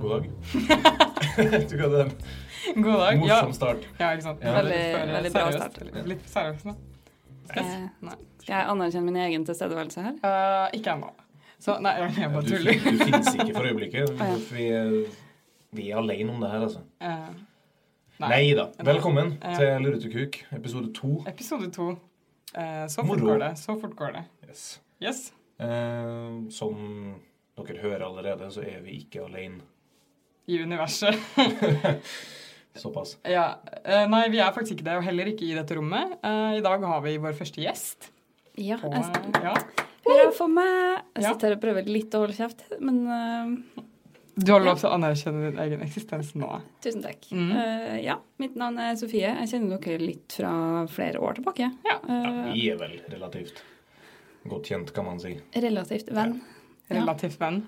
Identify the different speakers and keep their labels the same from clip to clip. Speaker 1: god dag. du kan den.
Speaker 2: God dag. Ja,
Speaker 1: Morsom start.
Speaker 2: ja ikke sant.
Speaker 1: Ja.
Speaker 2: Det er litt
Speaker 3: Veldig-
Speaker 2: for, eh,
Speaker 3: veldig bra
Speaker 2: seriøst.
Speaker 3: start.
Speaker 2: Litt- Litt for seriøst nå.
Speaker 3: Eh,
Speaker 2: Nei.
Speaker 3: Skal jeg anerkjenne min egen tilstedeværelse her?
Speaker 2: Eh, ikke ennå. Så nei, jeg jeg
Speaker 1: Du,
Speaker 2: bare
Speaker 1: du
Speaker 2: tuller.
Speaker 1: fins ikke for øyeblikket.
Speaker 3: Å, ja.
Speaker 1: Vi er, vi er alene om det her, altså.
Speaker 2: Eh,
Speaker 1: Nei da. Velkommen
Speaker 2: Ja.
Speaker 1: til Luretekuk, episode to.
Speaker 2: Episode to. Eh, så fort
Speaker 1: Moro.
Speaker 2: går det. Så fort går det.
Speaker 1: Yes.
Speaker 2: Yes.
Speaker 1: Eh, som dere hører allerede, så er vi ikke alene.
Speaker 2: I universet.
Speaker 1: Såpass.
Speaker 2: Ja. eh, nei, vi er faktisk ikke det, og heller ikke i dette rommet. Eh, I dag har vi vår første gjest.
Speaker 3: Ja.
Speaker 2: På,
Speaker 3: Jeg,
Speaker 2: ja.
Speaker 3: hurra for meg! Jeg
Speaker 2: Ja.
Speaker 3: sitter her og prøver litt å holde kjeft, men eh,
Speaker 2: Du har lov til å anerkjenne din egen eksistens nå.
Speaker 3: tusen takk.
Speaker 2: Mm.
Speaker 3: Eh, ja, mitt navn er Sofie. Jeg kjenner dere litt fra flere år tilbake.
Speaker 2: Ja.
Speaker 1: Ja,
Speaker 3: Eh,
Speaker 1: vi er vel relativt godt kjent, kan man si.
Speaker 3: Eh, relativt venn. Ja.
Speaker 2: Relativt venn.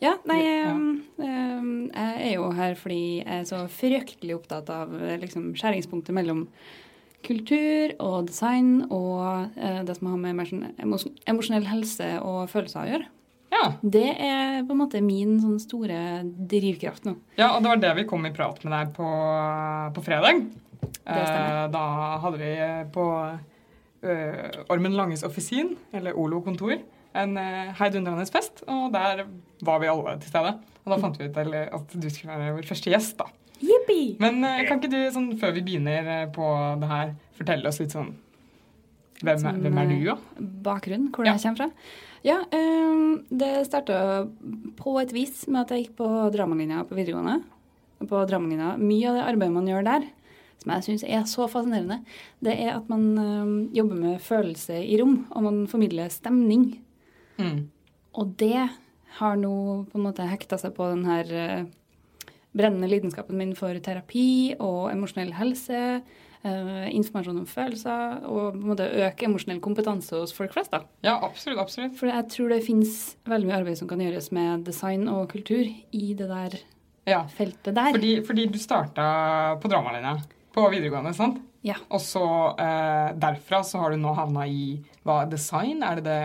Speaker 3: Ja, nei
Speaker 2: Ja.
Speaker 3: eh, eh, Jeg er jo her fordi jeg er så fryktelig opptatt av eh, liksom, skjæringspunktet mellom kultur og design og eh, det som har med emosjon- emosjon- emosjonell helse og følelser å gjøre.
Speaker 2: Ja.
Speaker 3: Det er på en måte min sånn store drivkraft nå.
Speaker 2: ja, og det var det vi kom i prat med deg på, på fredag. Eh,
Speaker 3: stemmer.
Speaker 2: da hadde vi på eh, Ormen Langes offisin, eller Olo kontor, en eh, heidundrende fest, og der var vi alle til stede. Og da fant vi ut eller, at du skulle være vår første gjest, da.
Speaker 3: Jippi!
Speaker 2: Men eh, kan ikke du, sånn, før vi begynner eh, på det her, fortelle oss litt sånn Hvem, er-
Speaker 3: Sånn,
Speaker 2: hvem er du, da?
Speaker 3: Bakgrunnen, hvor
Speaker 2: Ja.
Speaker 3: jeg kommer fra. Ja, eh, det starta på et vis med at jeg gikk på Drammenlinja på videregående. På Drammenlinja. Mye av det arbeidet man gjør der, som jeg syns er så fascinerende, det er at man eh, jobber med følelse i rom, og man formidler stemning.
Speaker 2: Mm.
Speaker 3: Og det har nå på en måte hekta seg på den her eh, brennende lidenskapen min for terapi og emosjonell helse, eh, informasjon om følelser, og på en måte øke emosjonell kompetanse hos folk flest. da.
Speaker 2: Ja, absolutt. absolutt.
Speaker 3: For jeg tror det finnes veldig mye arbeid som kan gjøres med design og kultur i det der
Speaker 2: Ja.
Speaker 3: feltet der.
Speaker 2: Fordi, fordi du starta på dramalinja på videregående, sant?
Speaker 3: Ja.
Speaker 2: Og så eh, derfra så har du nå havna i hva, design? Er det det?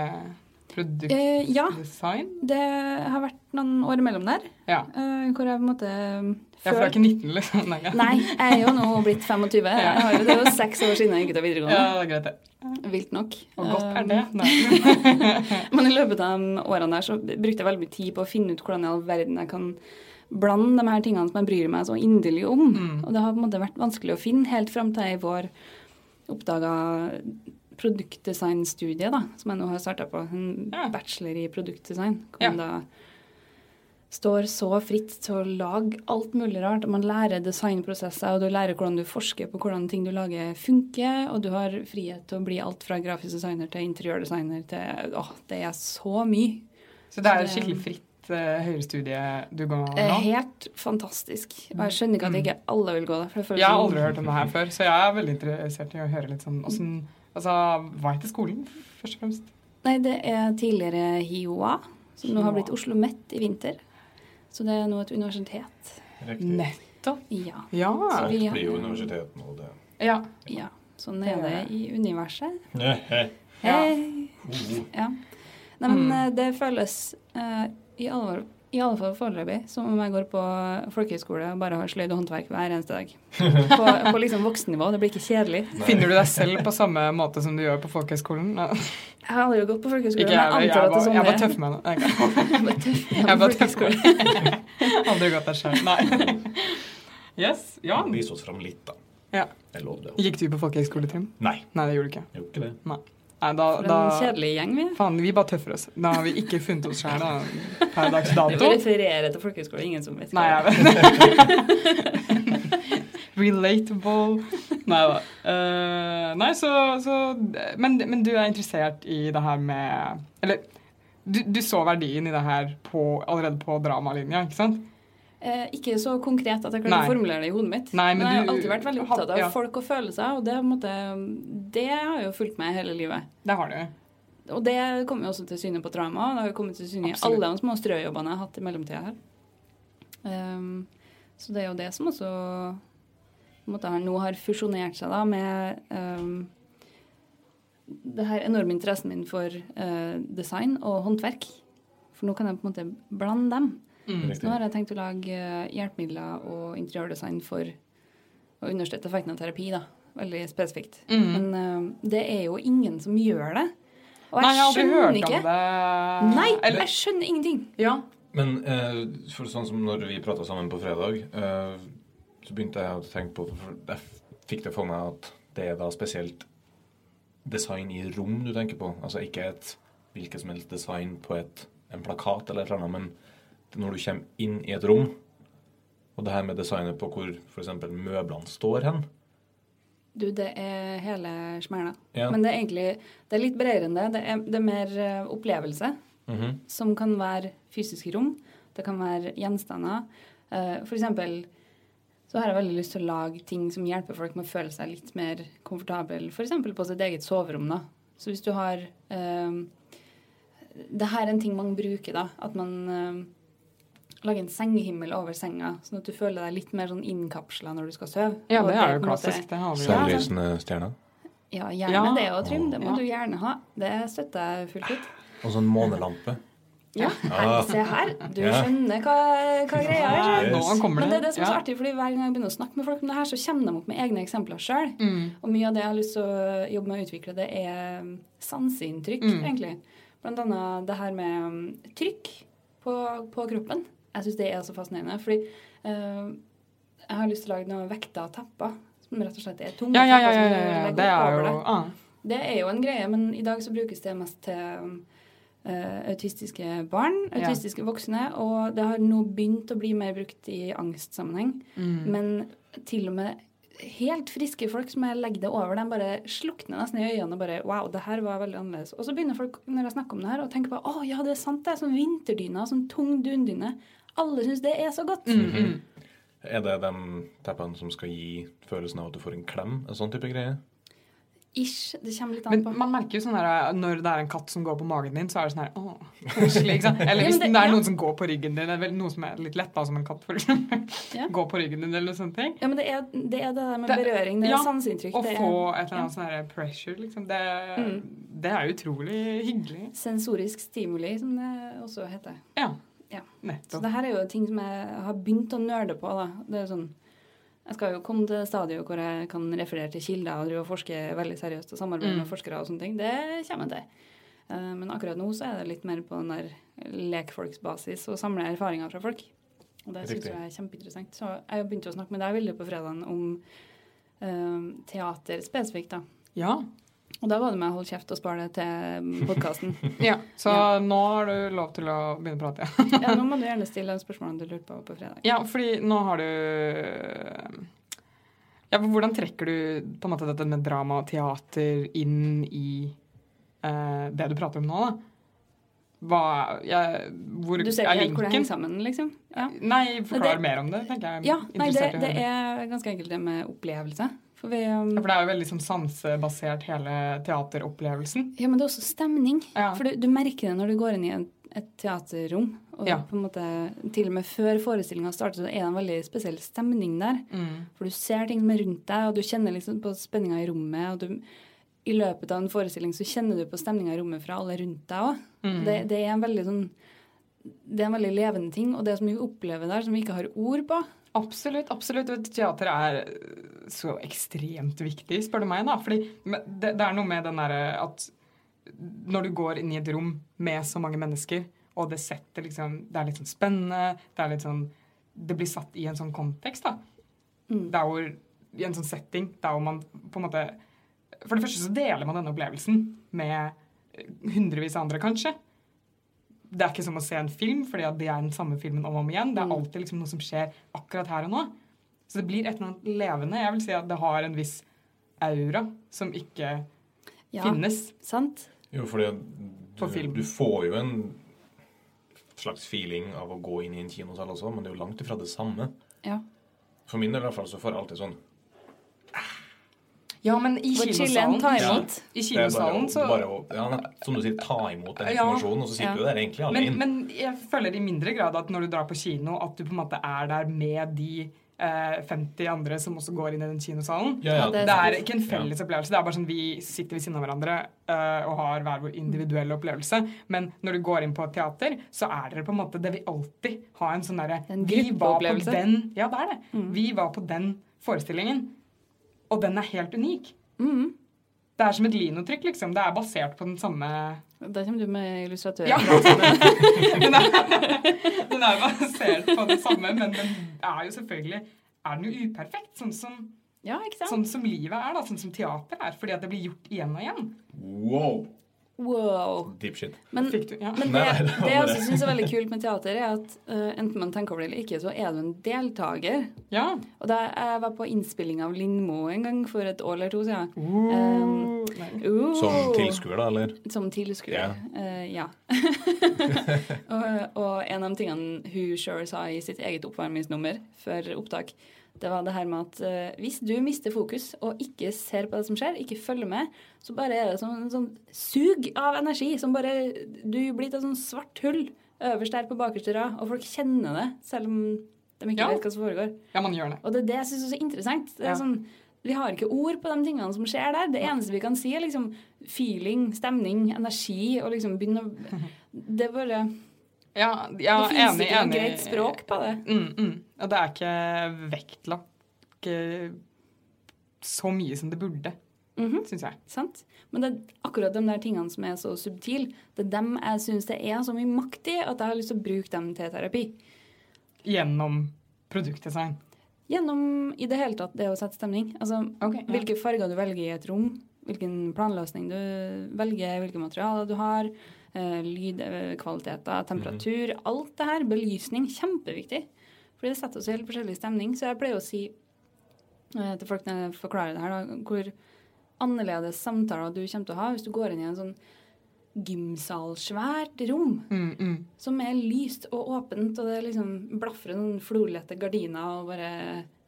Speaker 3: Eh, ja.
Speaker 2: Produktdesign?
Speaker 3: Det har vært noen år imellom der,
Speaker 2: ja.
Speaker 3: eh, hvor jeg på en måte
Speaker 2: ja, for du er ikke 19, liksom? Nei, ja.
Speaker 3: Nei, jeg er jo nå blitt 25. Jeg har jo, det er jo seks år siden jeg gikk ut av
Speaker 2: ja,
Speaker 3: videregående.
Speaker 2: det er greit, det.
Speaker 3: Vilt nok.
Speaker 2: Og godt
Speaker 3: Eh,
Speaker 2: er det. Nei.
Speaker 3: Men i løpet av de årene der så brukte jeg veldig mye tid på å finne ut hvordan i all verden jeg kan blande de her tingene som jeg bryr meg så inderlig om.
Speaker 2: Mm.
Speaker 3: Og det har på en måte vært vanskelig å finne helt fram til jeg i vår oppdaga produktdesignstudiet, da, som jeg nå har starta på. En
Speaker 2: Ja.
Speaker 3: bachelor i produktdesign. Hvor
Speaker 2: Ja.
Speaker 3: man da står så fritt til å lage alt mulig rart. og Man lærer designprosesser, og du lærer hvordan du forsker på hvordan ting du lager, funker. Og du har frihet til å bli alt fra grafisk designer til interiørdesigner til Åh, det er så mye.
Speaker 2: Så det er et skikkelig fritt eh, høyrestudie du går
Speaker 3: Eh,
Speaker 2: nå?
Speaker 3: Helt fantastisk. Og jeg skjønner ikke at ikke alle vil gå der. For det føles
Speaker 2: Jeg har
Speaker 3: som-
Speaker 2: aldri hørt om det her før, så jeg er veldig interessert i å høre litt sånn åssen Altså, hva heter skolen, først og fremst?
Speaker 3: Nei, det er tidligere HiOA, som nå har
Speaker 2: HiOA.
Speaker 3: blitt Oslo Met i vinter. Så det er nå et universitet.
Speaker 1: Riktig.
Speaker 2: Nettopp.
Speaker 3: Ja.
Speaker 2: Ja.
Speaker 1: Så
Speaker 3: vi-
Speaker 1: blir jo universitet nå, det.
Speaker 2: ja.
Speaker 3: ja. Sånn er det i universet.
Speaker 2: Ja.
Speaker 3: Hei!
Speaker 1: Oh,
Speaker 3: Ja. Nei, men
Speaker 2: Mm.
Speaker 3: eh, det føles eh, i, alvor, i alle fall foreløpig som om jeg går på folkehøyskole og bare har sløyd og håndverk hver eneste dag. På, på liksom voksennivå. Det blir ikke kjedelig.
Speaker 1: nei.
Speaker 2: Finner du deg selv på samme måte som du gjør på folkehøyskolen? Ja.
Speaker 3: Jeg har aldri gått på folkehøyskole,
Speaker 2: Ikke
Speaker 3: men
Speaker 2: jeg,
Speaker 3: jeg
Speaker 2: jeg,
Speaker 3: antar at det
Speaker 2: var,
Speaker 3: er sånn
Speaker 2: jeg var
Speaker 3: det
Speaker 2: tøff med henne.
Speaker 3: Jeg var tøff.
Speaker 2: Jeg var tøff
Speaker 3: folkehøyskole.
Speaker 2: Aldri gått der sjøl. Nei. Yes, ja.
Speaker 1: Vis oss fram litt, da.
Speaker 2: Ja.
Speaker 1: Jeg lover det.
Speaker 2: Gikk du på folkehøyskole, Trym?
Speaker 1: Nei,
Speaker 2: Nei, det gjorde du ikke.
Speaker 1: jeg gjorde ikke det.
Speaker 2: Nei, da,
Speaker 3: For
Speaker 2: da
Speaker 3: en kjedelig gjeng vi er.
Speaker 2: Faen, vi bare tøffer oss. Da har vi ikke funnet oss sjæl per dags
Speaker 3: Vi
Speaker 2: dato.
Speaker 3: refererer til folkehøyskole, ingen som vet
Speaker 2: Nei, jeg
Speaker 3: det er.
Speaker 2: vet Relatable. Nei da. Eh, nei, så, så men, men du er interessert i det her med Eller du, du så verdien i det her på, allerede på dramalinja, ikke sant?
Speaker 3: Eh, ikke så konkret at jeg klarte
Speaker 2: Nei.
Speaker 3: å formulere det i hodet mitt.
Speaker 2: Nei, men
Speaker 3: jeg har
Speaker 2: du-
Speaker 3: alltid vært veldig opptatt av
Speaker 2: Ja.
Speaker 3: folk og følelser, og det, har på en måte, det har jo fulgt meg hele livet.
Speaker 2: Det har du.
Speaker 3: Og det kommer jo også til syne på drama, og det har jo kommet til syne i
Speaker 2: Absolutt.
Speaker 3: alle de små strøjobbene jeg har hatt i mellomtida her. Ehm, så det er jo det som også på en måte, har- nå har fusjonert seg da med ehm, det her enorme interessen min for eh, design og håndverk. For nå kan jeg på en måte blande dem.
Speaker 2: Mm.
Speaker 3: Nå
Speaker 1: Riktig.
Speaker 3: har jeg tenkt å lage eh, hjelpemidler og interiørdesign for å understøtte effekten av terapi, da. Veldig spesifikt.
Speaker 2: Mm.
Speaker 3: Men eh, det er jo ingen som gjør det. Og
Speaker 2: Nei, jeg
Speaker 3: jeg
Speaker 2: har aldri
Speaker 3: skjønner
Speaker 2: hørt om
Speaker 3: ikke.
Speaker 2: det.
Speaker 3: Nei,
Speaker 2: Eller,
Speaker 3: jeg skjønner ingenting.
Speaker 2: ja.
Speaker 1: Men eh, for sånn som når vi prata sammen på fredag, eh, så begynte jeg å tenke på for Jeg f- fikk det for meg at det er da spesielt design i rom du tenker på. Altså ikke et hvilket som helst design på et, en plakat eller et eller annet, men når du kommer inn i et rom, og det her med designet på hvor f.eks. møblene står hen
Speaker 3: Du, det er hele smæla.
Speaker 1: Ja.
Speaker 3: Men det er egentlig det er litt bredere enn det. Det er, det er mer eh, opplevelse,
Speaker 1: Mhm.
Speaker 3: som kan være fysiske rom. Det kan være gjenstander. Eh, For eksempel så har jeg veldig lyst til å lage ting som hjelper folk med å føle seg litt mer komfortabel, f.eks. på sitt eget soverom. da. Så hvis du har eh, Det her er en ting man bruker, da. At man eh, lager en sengehimmel over senga, sånn at du føler deg litt mer sånn innkapsla når du skal sove.
Speaker 2: ja,
Speaker 3: Og
Speaker 2: det er jo
Speaker 3: på en måte-
Speaker 2: klassisk. Det har vi jo.
Speaker 3: Selv-
Speaker 1: Selvlysende stjerner.
Speaker 3: ja, gjerne
Speaker 2: Ja.
Speaker 3: det òg, Trym. Det må
Speaker 2: Ja.
Speaker 3: du gjerne ha. Det støtter jeg fullt ut.
Speaker 1: Og så en månelampe.
Speaker 3: Ja,
Speaker 1: Ah.
Speaker 3: Se her, du
Speaker 1: Ja.
Speaker 3: skjønner hva, hva
Speaker 2: Ja,
Speaker 3: greia er.
Speaker 2: Nå
Speaker 1: Yes.
Speaker 2: kommer det.
Speaker 3: Men det er det som er så
Speaker 2: Ja.
Speaker 3: artig, fordi hver gang jeg begynner å snakke med folk om det her, så kommer de opp med egne eksempler sjøl.
Speaker 2: Mm.
Speaker 3: Og mye av det jeg har lyst til å jobbe med å utvikle, det er um, sanseinntrykk,
Speaker 2: Mm.
Speaker 3: egentlig. Blant annet det her med um, trykk på, på kroppen. Jeg syns det er så fascinerende, fordi eh, jeg har lyst til å lage noen vekter og tepper som rett og slett er tunge.
Speaker 2: Ja, ja, ja, ja,
Speaker 3: tepper som
Speaker 2: ja,
Speaker 3: du
Speaker 2: ja.
Speaker 3: legger
Speaker 2: Det
Speaker 3: opp
Speaker 2: er
Speaker 3: over
Speaker 2: jo
Speaker 3: deg.
Speaker 2: ah.
Speaker 3: Det er jo en greie, men i dag så brukes det mest til eh, autistiske barn,
Speaker 2: Ja.
Speaker 3: autistiske voksne, og det har nå begynt å bli mer brukt i angstsammenheng.
Speaker 2: mm.
Speaker 3: Men til og med helt friske folk som jeg legger det over, de bare slukner nesten i øynene og bare Wow, det her var veldig annerledes. Og så begynner folk, når jeg snakker om det her, å tenke på Å ja, det er sant, det er sånn vinterdyne, sånn tung dundyne. Alle syns det er så godt.
Speaker 2: Mm, mm.
Speaker 1: Er det de teppene som skal gi følelsen av at du får en klem? En sånn type greie?
Speaker 3: Ish. Det kommer litt an
Speaker 2: Men
Speaker 3: på.
Speaker 2: man merker jo sånn der, når det er en katt som går på magen din, så er det sånn her Åh, koselig. Ikke sant?
Speaker 3: Ja,
Speaker 2: Eller
Speaker 3: men
Speaker 2: hvis
Speaker 3: det-
Speaker 2: det er
Speaker 3: ja.
Speaker 2: noen som går på ryggen din, eller vel noe som er litt lett, da, som en katt, for eksempel.
Speaker 3: Ja.
Speaker 2: Går på ryggen din, eller sånne ting.
Speaker 3: Ja, men det er det, er det der med
Speaker 2: Det-
Speaker 3: berøring, det er
Speaker 2: ja,
Speaker 3: sanseinntrykk.
Speaker 2: Å
Speaker 3: det er-
Speaker 2: få et eller annet sånn her pressure, liksom. Det,
Speaker 3: Mm.
Speaker 2: det er utrolig hyggelig.
Speaker 3: Sensorisk stimuli, som det også heter.
Speaker 2: Ja.
Speaker 3: Ja. Så
Speaker 2: Nettopp.
Speaker 3: det her er jo ting som jeg har begynt å nerde på. da. Det er jo sånn, Jeg skal jo komme til det stadiet hvor jeg kan referere til kilder og drive og forske veldig seriøst og samarbeide med
Speaker 2: Mm.
Speaker 3: forskere og sånne ting. Det kommer jeg til. Eh, Men akkurat nå så er det litt mer på den der lekfolksbasis og samle erfaringer fra folk. Og det syns
Speaker 1: Riktig.
Speaker 3: jeg er kjempeinteressant. Så jeg begynte å snakke med deg Vilde på fredagen om eh, teater spesifikt, da.
Speaker 2: Ja.
Speaker 3: Og da var det med å holde kjeft og spare det til podkasten.
Speaker 2: ja. Så
Speaker 3: Ja.
Speaker 2: nå har du lov til å begynne å prate. Ja.
Speaker 3: ja, nå må du gjerne stille de spørsmålene du lurte på på fredag.
Speaker 2: ja, fordi nå har du ja, for Hvordan trekker du på en måte dette med drama og teater inn i eh, det du prater om nå? da? Hva, jeg, hvor
Speaker 3: Du ser
Speaker 2: er
Speaker 3: ikke helt hvor
Speaker 2: linken?
Speaker 3: det henger sammen, liksom? Ja,
Speaker 2: Nei, forklar
Speaker 3: Det-
Speaker 2: mer om det, tenker jeg.
Speaker 3: ja nei, det,
Speaker 2: Interessert i å
Speaker 3: det
Speaker 2: høre.
Speaker 3: er ganske enkelt det med opplevelse. For vi, um,
Speaker 2: Ja, For det er jo veldig sånn sansebasert, hele teateropplevelsen.
Speaker 3: ja, men det er også stemning.
Speaker 2: Ja.
Speaker 3: For du, du merker det når du går inn i en, et teaterrom. Og
Speaker 2: Ja.
Speaker 3: på en måte, til og med før forestillinga starter, så er det en veldig spesiell stemning der.
Speaker 2: Mm.
Speaker 3: For du ser ting som er rundt deg, og du kjenner liksom på spenninga i rommet. og du... I løpet av en forestilling så kjenner du på stemninga i rommet fra alle rundt deg òg.
Speaker 2: Mm.
Speaker 3: Det, det er en veldig sånn Det er en veldig levende ting. Og det som vi opplever der, som vi ikke har ord på,
Speaker 2: Absolutt. absolutt. Og Teater er eh, så ekstremt viktig, spør du meg. da. Fordi men det, det er noe med den derre at når du går inn i et rom med så mange mennesker, og det setter liksom Det er litt sånn spennende, det er litt sånn Det blir satt i en sånn kontekst, da.
Speaker 3: Mm.
Speaker 2: Der hvor I en sånn setting der hvor man på en måte For det første så deler man denne opplevelsen med hundrevis av andre, kanskje. Det er ikke som å se en film, fordi at det er den samme filmen om og om igjen. Det er
Speaker 3: Mm.
Speaker 2: alltid liksom noe som skjer akkurat her og nå. Så det blir et eller annet levende. Jeg vil si at det har en viss aura som ikke
Speaker 3: Ja,
Speaker 2: finnes.
Speaker 3: sant?
Speaker 1: Jo, fordi
Speaker 2: På
Speaker 1: du,
Speaker 2: film.
Speaker 1: du får jo en slags feeling av å gå inn i en kinosal også, men det er jo langt ifra det samme.
Speaker 3: Ja.
Speaker 1: For min del i hvert fall så får jeg alltid sånn
Speaker 2: Ja, men i
Speaker 3: Hvor chillen tar
Speaker 1: Ja.
Speaker 3: imot.
Speaker 2: I
Speaker 1: det er
Speaker 2: kinosalen
Speaker 1: bare, å-
Speaker 2: så
Speaker 1: bare å, ja, nei, Som du sier, ta imot den
Speaker 2: Ja.
Speaker 1: informasjonen, og så sitter
Speaker 3: Ja.
Speaker 1: du der egentlig
Speaker 2: men,
Speaker 1: alene.
Speaker 2: men jeg føler i mindre grad at når du drar på kino, at du på en måte er der med de eh, 50 andre som også går inn i den kinosalen.
Speaker 1: Ja, ja.
Speaker 3: Ja, det
Speaker 2: Det er ikke en felles opplevelse. Det er bare sånn Vi sitter ved siden av hverandre eh, og har hver vår individuelle opplevelse. Men når du går inn på et teater, så er dere på en måte Det vil alltid ha en sånn derre
Speaker 3: En
Speaker 2: Vi var på
Speaker 3: gruppeopplevelse. Mm.
Speaker 2: den Ja, det er det. Vi var på den forestillingen, og den er helt unik.
Speaker 3: Mhm.
Speaker 2: Det er som et linotrykk, liksom. Det er basert på den samme
Speaker 3: Da kommer du med illustratør.
Speaker 2: Ja. den, er, den er basert på det samme, men den er jo selvfølgelig er den jo uperfekt, sånn som,
Speaker 3: Ja, ikke sant?
Speaker 2: sånn som livet er, da, sånn som teater er. Fordi at det blir gjort igjen og igjen.
Speaker 1: Wow!
Speaker 3: Wow.
Speaker 1: Deep shit.
Speaker 3: Men,
Speaker 2: Fikk du, ja.
Speaker 3: men det,
Speaker 1: Nei, det var
Speaker 3: det jeg
Speaker 1: bare-
Speaker 3: også syns er veldig kult med teater, er at eh, enten man tenker over det eller ikke, så er du en deltaker.
Speaker 2: ja.
Speaker 3: Og da jeg var på innspilling av Lindmo en gang for et år eller to siden
Speaker 2: Um,
Speaker 3: Uh,
Speaker 1: Som tilskuer, da, eller?
Speaker 3: Som tilskuer. eh, ja. og, og en av de tingene hun sjøl sa i sitt eget oppvarmingsnummer før opptak, det var det her med at eh, hvis du mister fokus og ikke ser på det som skjer, ikke følger med, så bare er det som en sånn sug av energi som bare Du blir til et sånt svart hull øverst der på bakerste rad, og folk kjenner det selv om de ikke
Speaker 2: Ja.
Speaker 3: vet hva som foregår.
Speaker 2: ja, man gjør det.
Speaker 3: Og det er det jeg syns er så interessant. Det er
Speaker 2: Ja.
Speaker 3: sånn, vi har ikke ord på de tingene som skjer der. Det eneste vi kan si, er liksom feeling, stemning, energi og liksom begynne å Det er bare
Speaker 2: Ja, ja
Speaker 3: Det finnes
Speaker 2: enig,
Speaker 3: ikke noe
Speaker 2: enig.
Speaker 3: greit språk på det.
Speaker 2: Mm, mm. Og det er ikke vektlagt ikke så mye som det burde,
Speaker 3: Mhm,
Speaker 2: syns jeg.
Speaker 3: Sant? Men det er akkurat de der tingene som er så subtile, det er dem jeg syns det er så mye makt i at jeg har lyst til å bruke dem til terapi.
Speaker 2: Gjennom produktdesign.
Speaker 3: Gjennom i det hele tatt det å sette stemning. Altså
Speaker 2: Ok, ja.
Speaker 3: hvilke farger du velger i et rom, hvilken planløsning du velger, hvilke materialer du har, eh, lydkvaliteter, temperatur.
Speaker 2: Mhm.
Speaker 3: Alt det her. Belysning. Kjempeviktig. Fordi det setter oss i helt forskjellig stemning. Så jeg pleier å si eh, til folk når jeg forklarer det her, da, hvor annerledes samtaler du kommer til å ha hvis du går inn i en sånn gymsalsvært rom
Speaker 2: Mm, mm.
Speaker 3: som er lyst og åpent, og det er liksom blafrer noen florlette gardiner og bare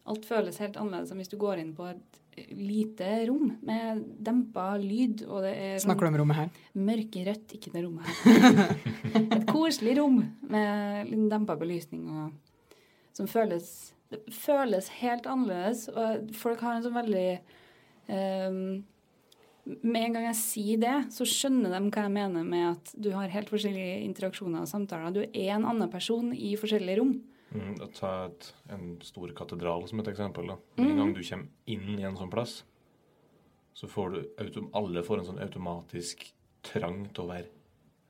Speaker 3: Alt føles helt annerledes enn hvis du går inn på et lite rom med dempa lyd, og det er sånn
Speaker 2: Snakker du om rommet her?
Speaker 3: mørkerødt, ikke det rommet her. Et koselig rom med litt dempa belysning og som føles Det føles helt annerledes, og folk har en sånn veldig ehm, med en gang jeg sier det, så skjønner de hva jeg mener med at du har helt forskjellige interaksjoner og samtaler. Du er en annen person i forskjellige rom.
Speaker 1: Mm, da ta et, en stor katedral som et eksempel. Da. Med en
Speaker 2: Mhm.
Speaker 1: gang du kommer inn i en sånn plass, så får du autom alle får en sånn automatisk trang til å være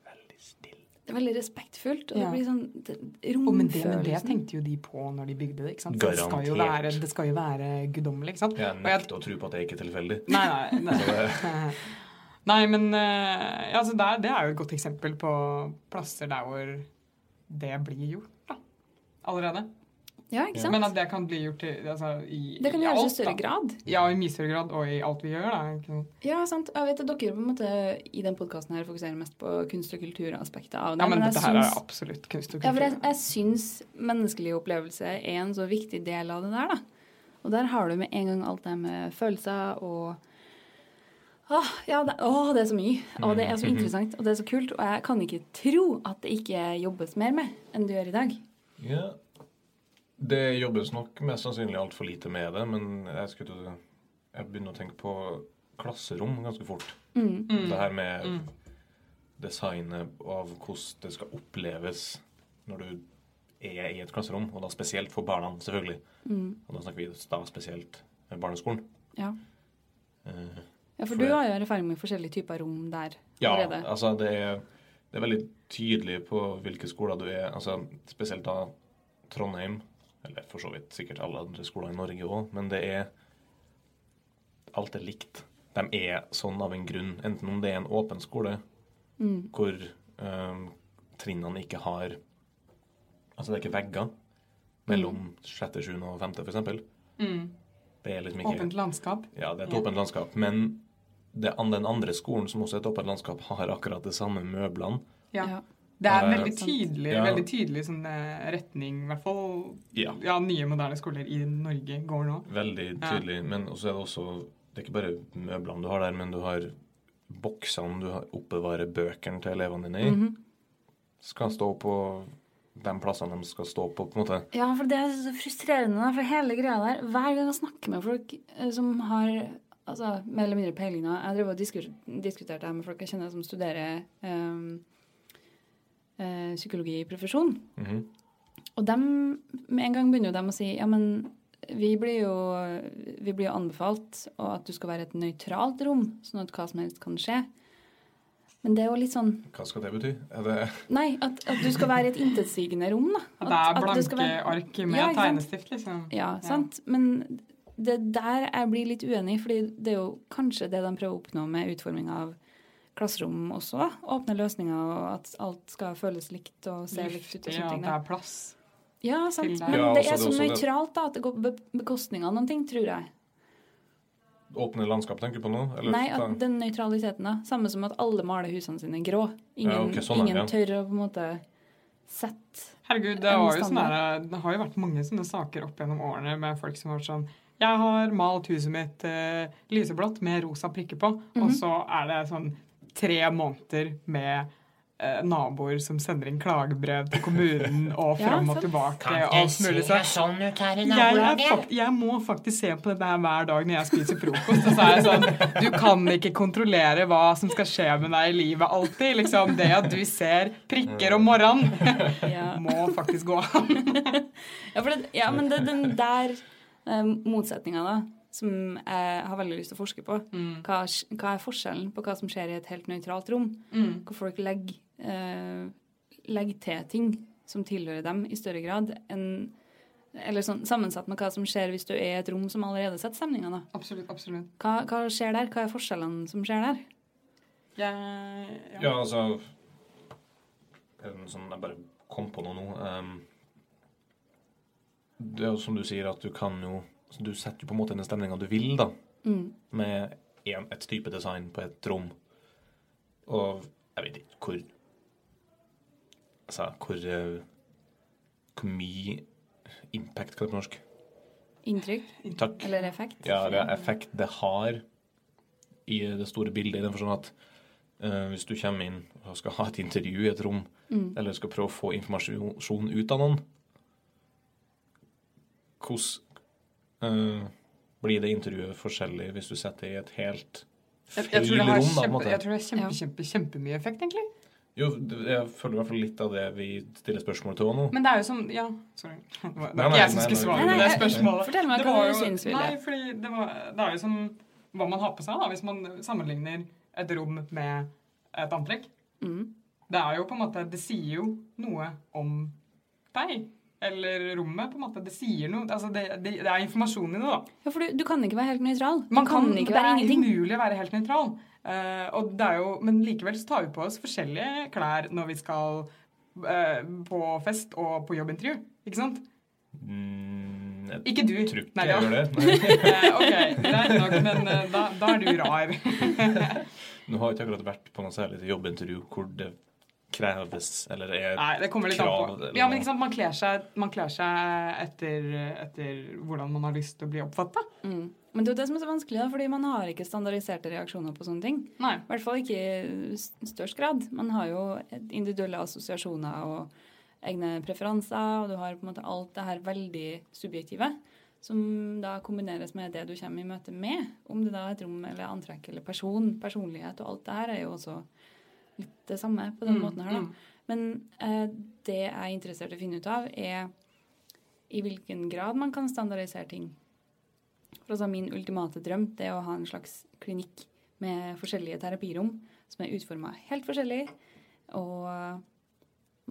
Speaker 1: veldig stille.
Speaker 3: Det er veldig respektfult, og
Speaker 2: Ja.
Speaker 3: det blir sånn det-
Speaker 2: Å, men, det, men det
Speaker 3: romfølelsen.
Speaker 2: tenkte jo de på når de bygde det. ikke sant? For Det skal jo
Speaker 1: Garantert.
Speaker 2: være, det skal jo være guddommelig, ikke sant?
Speaker 1: Jeg
Speaker 2: Og jeg-
Speaker 1: nekter å tro på at det ikke er tilfeldig.
Speaker 2: Nei, nei. nei. nei men eh, ja, altså, det, er, det er jo et godt eksempel på plasser der hvor det blir gjort. da, Allerede.
Speaker 3: Ja, ikke sant?
Speaker 2: Men at det kan bli gjort i, altså, i
Speaker 3: det kan
Speaker 2: i
Speaker 3: gjøres i
Speaker 2: alt,
Speaker 3: større
Speaker 2: da.
Speaker 3: grad.
Speaker 2: Ja, i mye større grad, og i alt vi gjør. da. ikke sant?
Speaker 3: Ja, sant. Jeg vet at dere på en måte i den podkasten her fokuserer mest på kunst- og kulturaspektet av det.
Speaker 2: Ja, men,
Speaker 3: jeg
Speaker 2: dette her
Speaker 3: syns-
Speaker 2: er absolutt kunst og
Speaker 3: ja, for jeg,
Speaker 2: kultur.
Speaker 3: jeg syns menneskelig opplevelse er en så viktig del av det der, da. Og der har du med en gang alt det med følelser og Åh, ja, det, åh, det er så mye. Og det er
Speaker 2: Mm.
Speaker 3: så interessant, og det er så kult. Og jeg kan ikke tro at det ikke jobbes mer med enn det gjør i dag.
Speaker 1: Ja. Det jobbes nok mest sannsynlig altfor lite med det, men jeg, skulle, til å- jeg begynner å tenke på klasserom ganske fort.
Speaker 3: Mm.
Speaker 1: Det her med designet av hvordan det skal oppleves når du er i et klasserom, og da spesielt for barna, selvfølgelig.
Speaker 3: Mm.
Speaker 1: Og da snakker vi da spesielt med barneskolen.
Speaker 3: Ja.
Speaker 1: Eh,
Speaker 3: ja, for
Speaker 1: For
Speaker 3: du
Speaker 1: det-
Speaker 3: har jo erfaring med forskjellige typer rom der
Speaker 1: Ja,
Speaker 3: allerede.
Speaker 1: altså det er, det er veldig tydelig på hvilke skoler du er. Altså, spesielt da Trondheim, eller for så vidt sikkert alle andre skoler i Norge òg, men det er Alt er likt. De er sånn av en grunn. Enten om det er en åpen skole
Speaker 3: Mm.
Speaker 1: hvor eh, trinnene ikke har Altså det er ikke vegger mellom
Speaker 3: Mm.
Speaker 1: sjette, sjuende og femte, f.eks.
Speaker 2: Mm.
Speaker 1: Det er liksom ikke
Speaker 2: Åpent landskap.
Speaker 1: ja, det er et
Speaker 3: Ja.
Speaker 1: åpent landskap. Men det, an- den andre skolen, som også er et åpent landskap, har akkurat de samme møblene.
Speaker 2: Ja.
Speaker 3: Ja.
Speaker 2: Det er en
Speaker 1: Eh,
Speaker 2: veldig
Speaker 3: sant.
Speaker 2: tydelig,
Speaker 1: Ja.
Speaker 2: veldig tydelig sånn, eh, retning, i hvert fall
Speaker 1: Ja.
Speaker 2: ja, nye moderne skoler i Norge går nå.
Speaker 1: Veldig tydelig. Men også er det også Det er ikke bare møblene du har der, men du har
Speaker 2: Mm.
Speaker 3: Mhm.
Speaker 1: boksene du har- oppbevarer bøkene til elevene dine i. Skal stå på de plassene de skal stå på, på en måte.
Speaker 3: Ja, for det er så frustrerende, da, for hele greia der. Hver gang jeg snakker med folk eh, som har altså, mer eller mindre peiling nå Jeg drev og diskur- diskuterte det her med folk jeg kjenner som studerer eh, eh, psykologi i profesjon.
Speaker 1: Mhm.
Speaker 3: Og dem, med en gang begynner jo dem å si ja, men vi blir jo vi blir jo anbefalt og at du skal være et nøytralt rom, sånn at hva som helst kan skje. Men det er jo litt sånn
Speaker 1: Hva skal det bety? Er det
Speaker 3: Nei, at, at du skal være i et intetsigende rom, da.
Speaker 2: At det er
Speaker 3: du skal
Speaker 2: blanke
Speaker 3: være-
Speaker 2: ark med
Speaker 3: Ja, ikke sant?
Speaker 2: tegnestift, liksom.
Speaker 3: Ja, sant. Men det der jeg blir litt uenig, fordi det er jo kanskje det de prøver å oppnå med utforming av klasserom også. da. Åpne løsninger og at alt skal føles likt og se likt
Speaker 2: Luftig,
Speaker 3: ut. og
Speaker 2: og
Speaker 3: sånne ting.
Speaker 2: at det
Speaker 3: da.
Speaker 2: er plass.
Speaker 3: Ja, sant.
Speaker 2: til det.
Speaker 3: Men
Speaker 1: Ja,
Speaker 3: det
Speaker 1: også
Speaker 3: er
Speaker 1: det
Speaker 3: så
Speaker 1: også det-
Speaker 3: nøytralt da, at det går på be- bekostning av noen ting, tror jeg.
Speaker 1: åpne landskap tenker du på nå? Eller-
Speaker 3: Nei, at den nøytraliteten, da. Samme som at alle maler husene sine grå. Ingen,
Speaker 1: Ja, ok, sånn er det,
Speaker 3: ingen
Speaker 1: ja.
Speaker 3: tør å på en måte sette
Speaker 2: Herregud, det,
Speaker 3: En
Speaker 2: var jo sånn
Speaker 3: standard.
Speaker 2: der, det har jo vært mange sånne saker opp gjennom årene med folk som har vært sånn Jeg har malt huset mitt eh, lyseblått med rosa prikker på,
Speaker 3: Mhm.
Speaker 2: og så er det sånn tre måneder med eh, naboer som sender inn klagebrev til kommunen og
Speaker 3: Ja,
Speaker 2: fram og
Speaker 3: sant.
Speaker 2: tilbake
Speaker 4: Kan
Speaker 2: og
Speaker 4: jeg
Speaker 2: alt
Speaker 4: se
Speaker 2: mulig sånn.
Speaker 4: sånn ut her i
Speaker 2: Jeg, er
Speaker 4: nabolaget?
Speaker 2: fakt- jeg må faktisk se på dette her hver dag når jeg spiser frokost. Og så er jeg sånn Du kan ikke kontrollere hva som skal skje med deg i livet alltid. Liksom, det at du ser prikker om morgenen,
Speaker 3: ja.
Speaker 2: må faktisk gå an.
Speaker 3: Ja, for det, ja men det er den der eh, motsetninga, da, som jeg har veldig lyst til å forske på.
Speaker 2: Mm.
Speaker 3: Hva, s- hva er forskjellen på hva som skjer i et helt nøytralt rom?
Speaker 2: Mm,
Speaker 3: Hvor folk legger, eh, legger til ting som tilhører dem, i større grad enn Eller sånn sammensatt med hva som skjer hvis du er i et rom som allerede setter stemninga, da.
Speaker 2: Absolutt. absolutt.
Speaker 3: Hva, hva skjer der? Hva er forskjellene som skjer der?
Speaker 2: Jeg, ja.
Speaker 1: Ja, altså er det noe sånn, Jeg bare kom på noe nå. ehm, det er jo som du sier, at du kan jo så Du setter jo på en måte den stemninga du vil, da. Med en, et type design på et rom. Og jeg vet ikke hvor Altså, hvor eh, Hvor mye impact, hva er det på norsk?
Speaker 3: Inntrykk
Speaker 1: Takk.
Speaker 3: eller effekt?
Speaker 1: Ja, det er effekt det har i det store bildet, i den forstand at eh, hvis du kommer inn og skal ha et intervju i et rom,
Speaker 2: Mm.
Speaker 1: eller skal prøve å få informasjon ut av noen, hvordan eh, blir det intervjuet forskjellig hvis du setter det i et helt
Speaker 2: Jeg,
Speaker 1: feil
Speaker 2: jeg tror det har
Speaker 1: rom, da, på en
Speaker 2: kjempe,
Speaker 1: måte?
Speaker 2: jeg tror det er kjempe, kjempe, kjempemye effekt, egentlig.
Speaker 1: Jo, det- jeg føler i hvert fall litt av det vi stiller spørsmål til nå.
Speaker 2: Men det er jo som Ja, sorry. Det var, det
Speaker 1: Nei,
Speaker 2: var
Speaker 1: nei,
Speaker 2: jeg som
Speaker 1: nei,
Speaker 2: skulle
Speaker 1: nei.
Speaker 2: svare på
Speaker 3: Nei,
Speaker 2: det
Speaker 3: nei,
Speaker 2: spørsmålet.
Speaker 3: Fortell meg
Speaker 2: Det
Speaker 3: hva
Speaker 2: var
Speaker 3: du
Speaker 2: jo-
Speaker 3: syns,
Speaker 2: Nei,
Speaker 3: Vilje.
Speaker 2: fordi det, var, det er jo som hva man har på seg da, hvis man sammenligner et rom med et antrekk.
Speaker 3: Mm.
Speaker 2: Det er jo på en måte, det sier jo noe om deg, eller rommet på en måte, det sier noe, altså det, det, det er informasjon i det da.
Speaker 3: Ja, for du, du kan ikke være helt nøytral. Du
Speaker 2: Man kan,
Speaker 3: kan ikke
Speaker 2: det
Speaker 3: være
Speaker 2: er
Speaker 3: ingenting.
Speaker 2: umulig å være helt nøytral. Eh, og det er jo, men likevel så tar vi på oss forskjellige klær når vi skal eh, på fest og på jobbintervju, ikke sant?
Speaker 1: Mm, jeg
Speaker 2: Ikke du.
Speaker 1: tror ikke
Speaker 2: Nei,
Speaker 1: jeg
Speaker 2: da-
Speaker 1: gjør det. Nei.
Speaker 2: Eh, ok, greit nok, men eh, da, da er du rar.
Speaker 1: Nå har jeg ikke akkurat vært på noe særlig til jobbintervju hvor det kreves, eller er
Speaker 2: Nei, det kommer litt an
Speaker 1: Krav,
Speaker 2: på.
Speaker 1: eller
Speaker 2: Ja, men
Speaker 1: noe.
Speaker 2: ikke sant, Man kler seg, man kler seg etter, etter hvordan man har lyst til å bli oppfatta.
Speaker 3: Mm. Men det er jo det som er så vanskelig, da, fordi man har ikke standardiserte reaksjoner på sånne ting.
Speaker 2: Nei.
Speaker 3: I hvert fall ikke i s- størst grad. Man har jo et- individuelle assosiasjoner og egne preferanser, og du har på en måte alt det her veldig subjektive, som da kombineres med det du kommer i møte med. Om det da er et rom eller antrekk eller person, personlighet og alt det her er jo også litt det samme på den
Speaker 2: Mm,
Speaker 3: måten her, da.
Speaker 2: mm.
Speaker 3: Men eh, det jeg er interessert i å finne ut av, er i hvilken grad man kan standardisere ting. For altså Min ultimate drøm det er å ha en slags klinikk med forskjellige terapirom som er utforma helt forskjellig. Og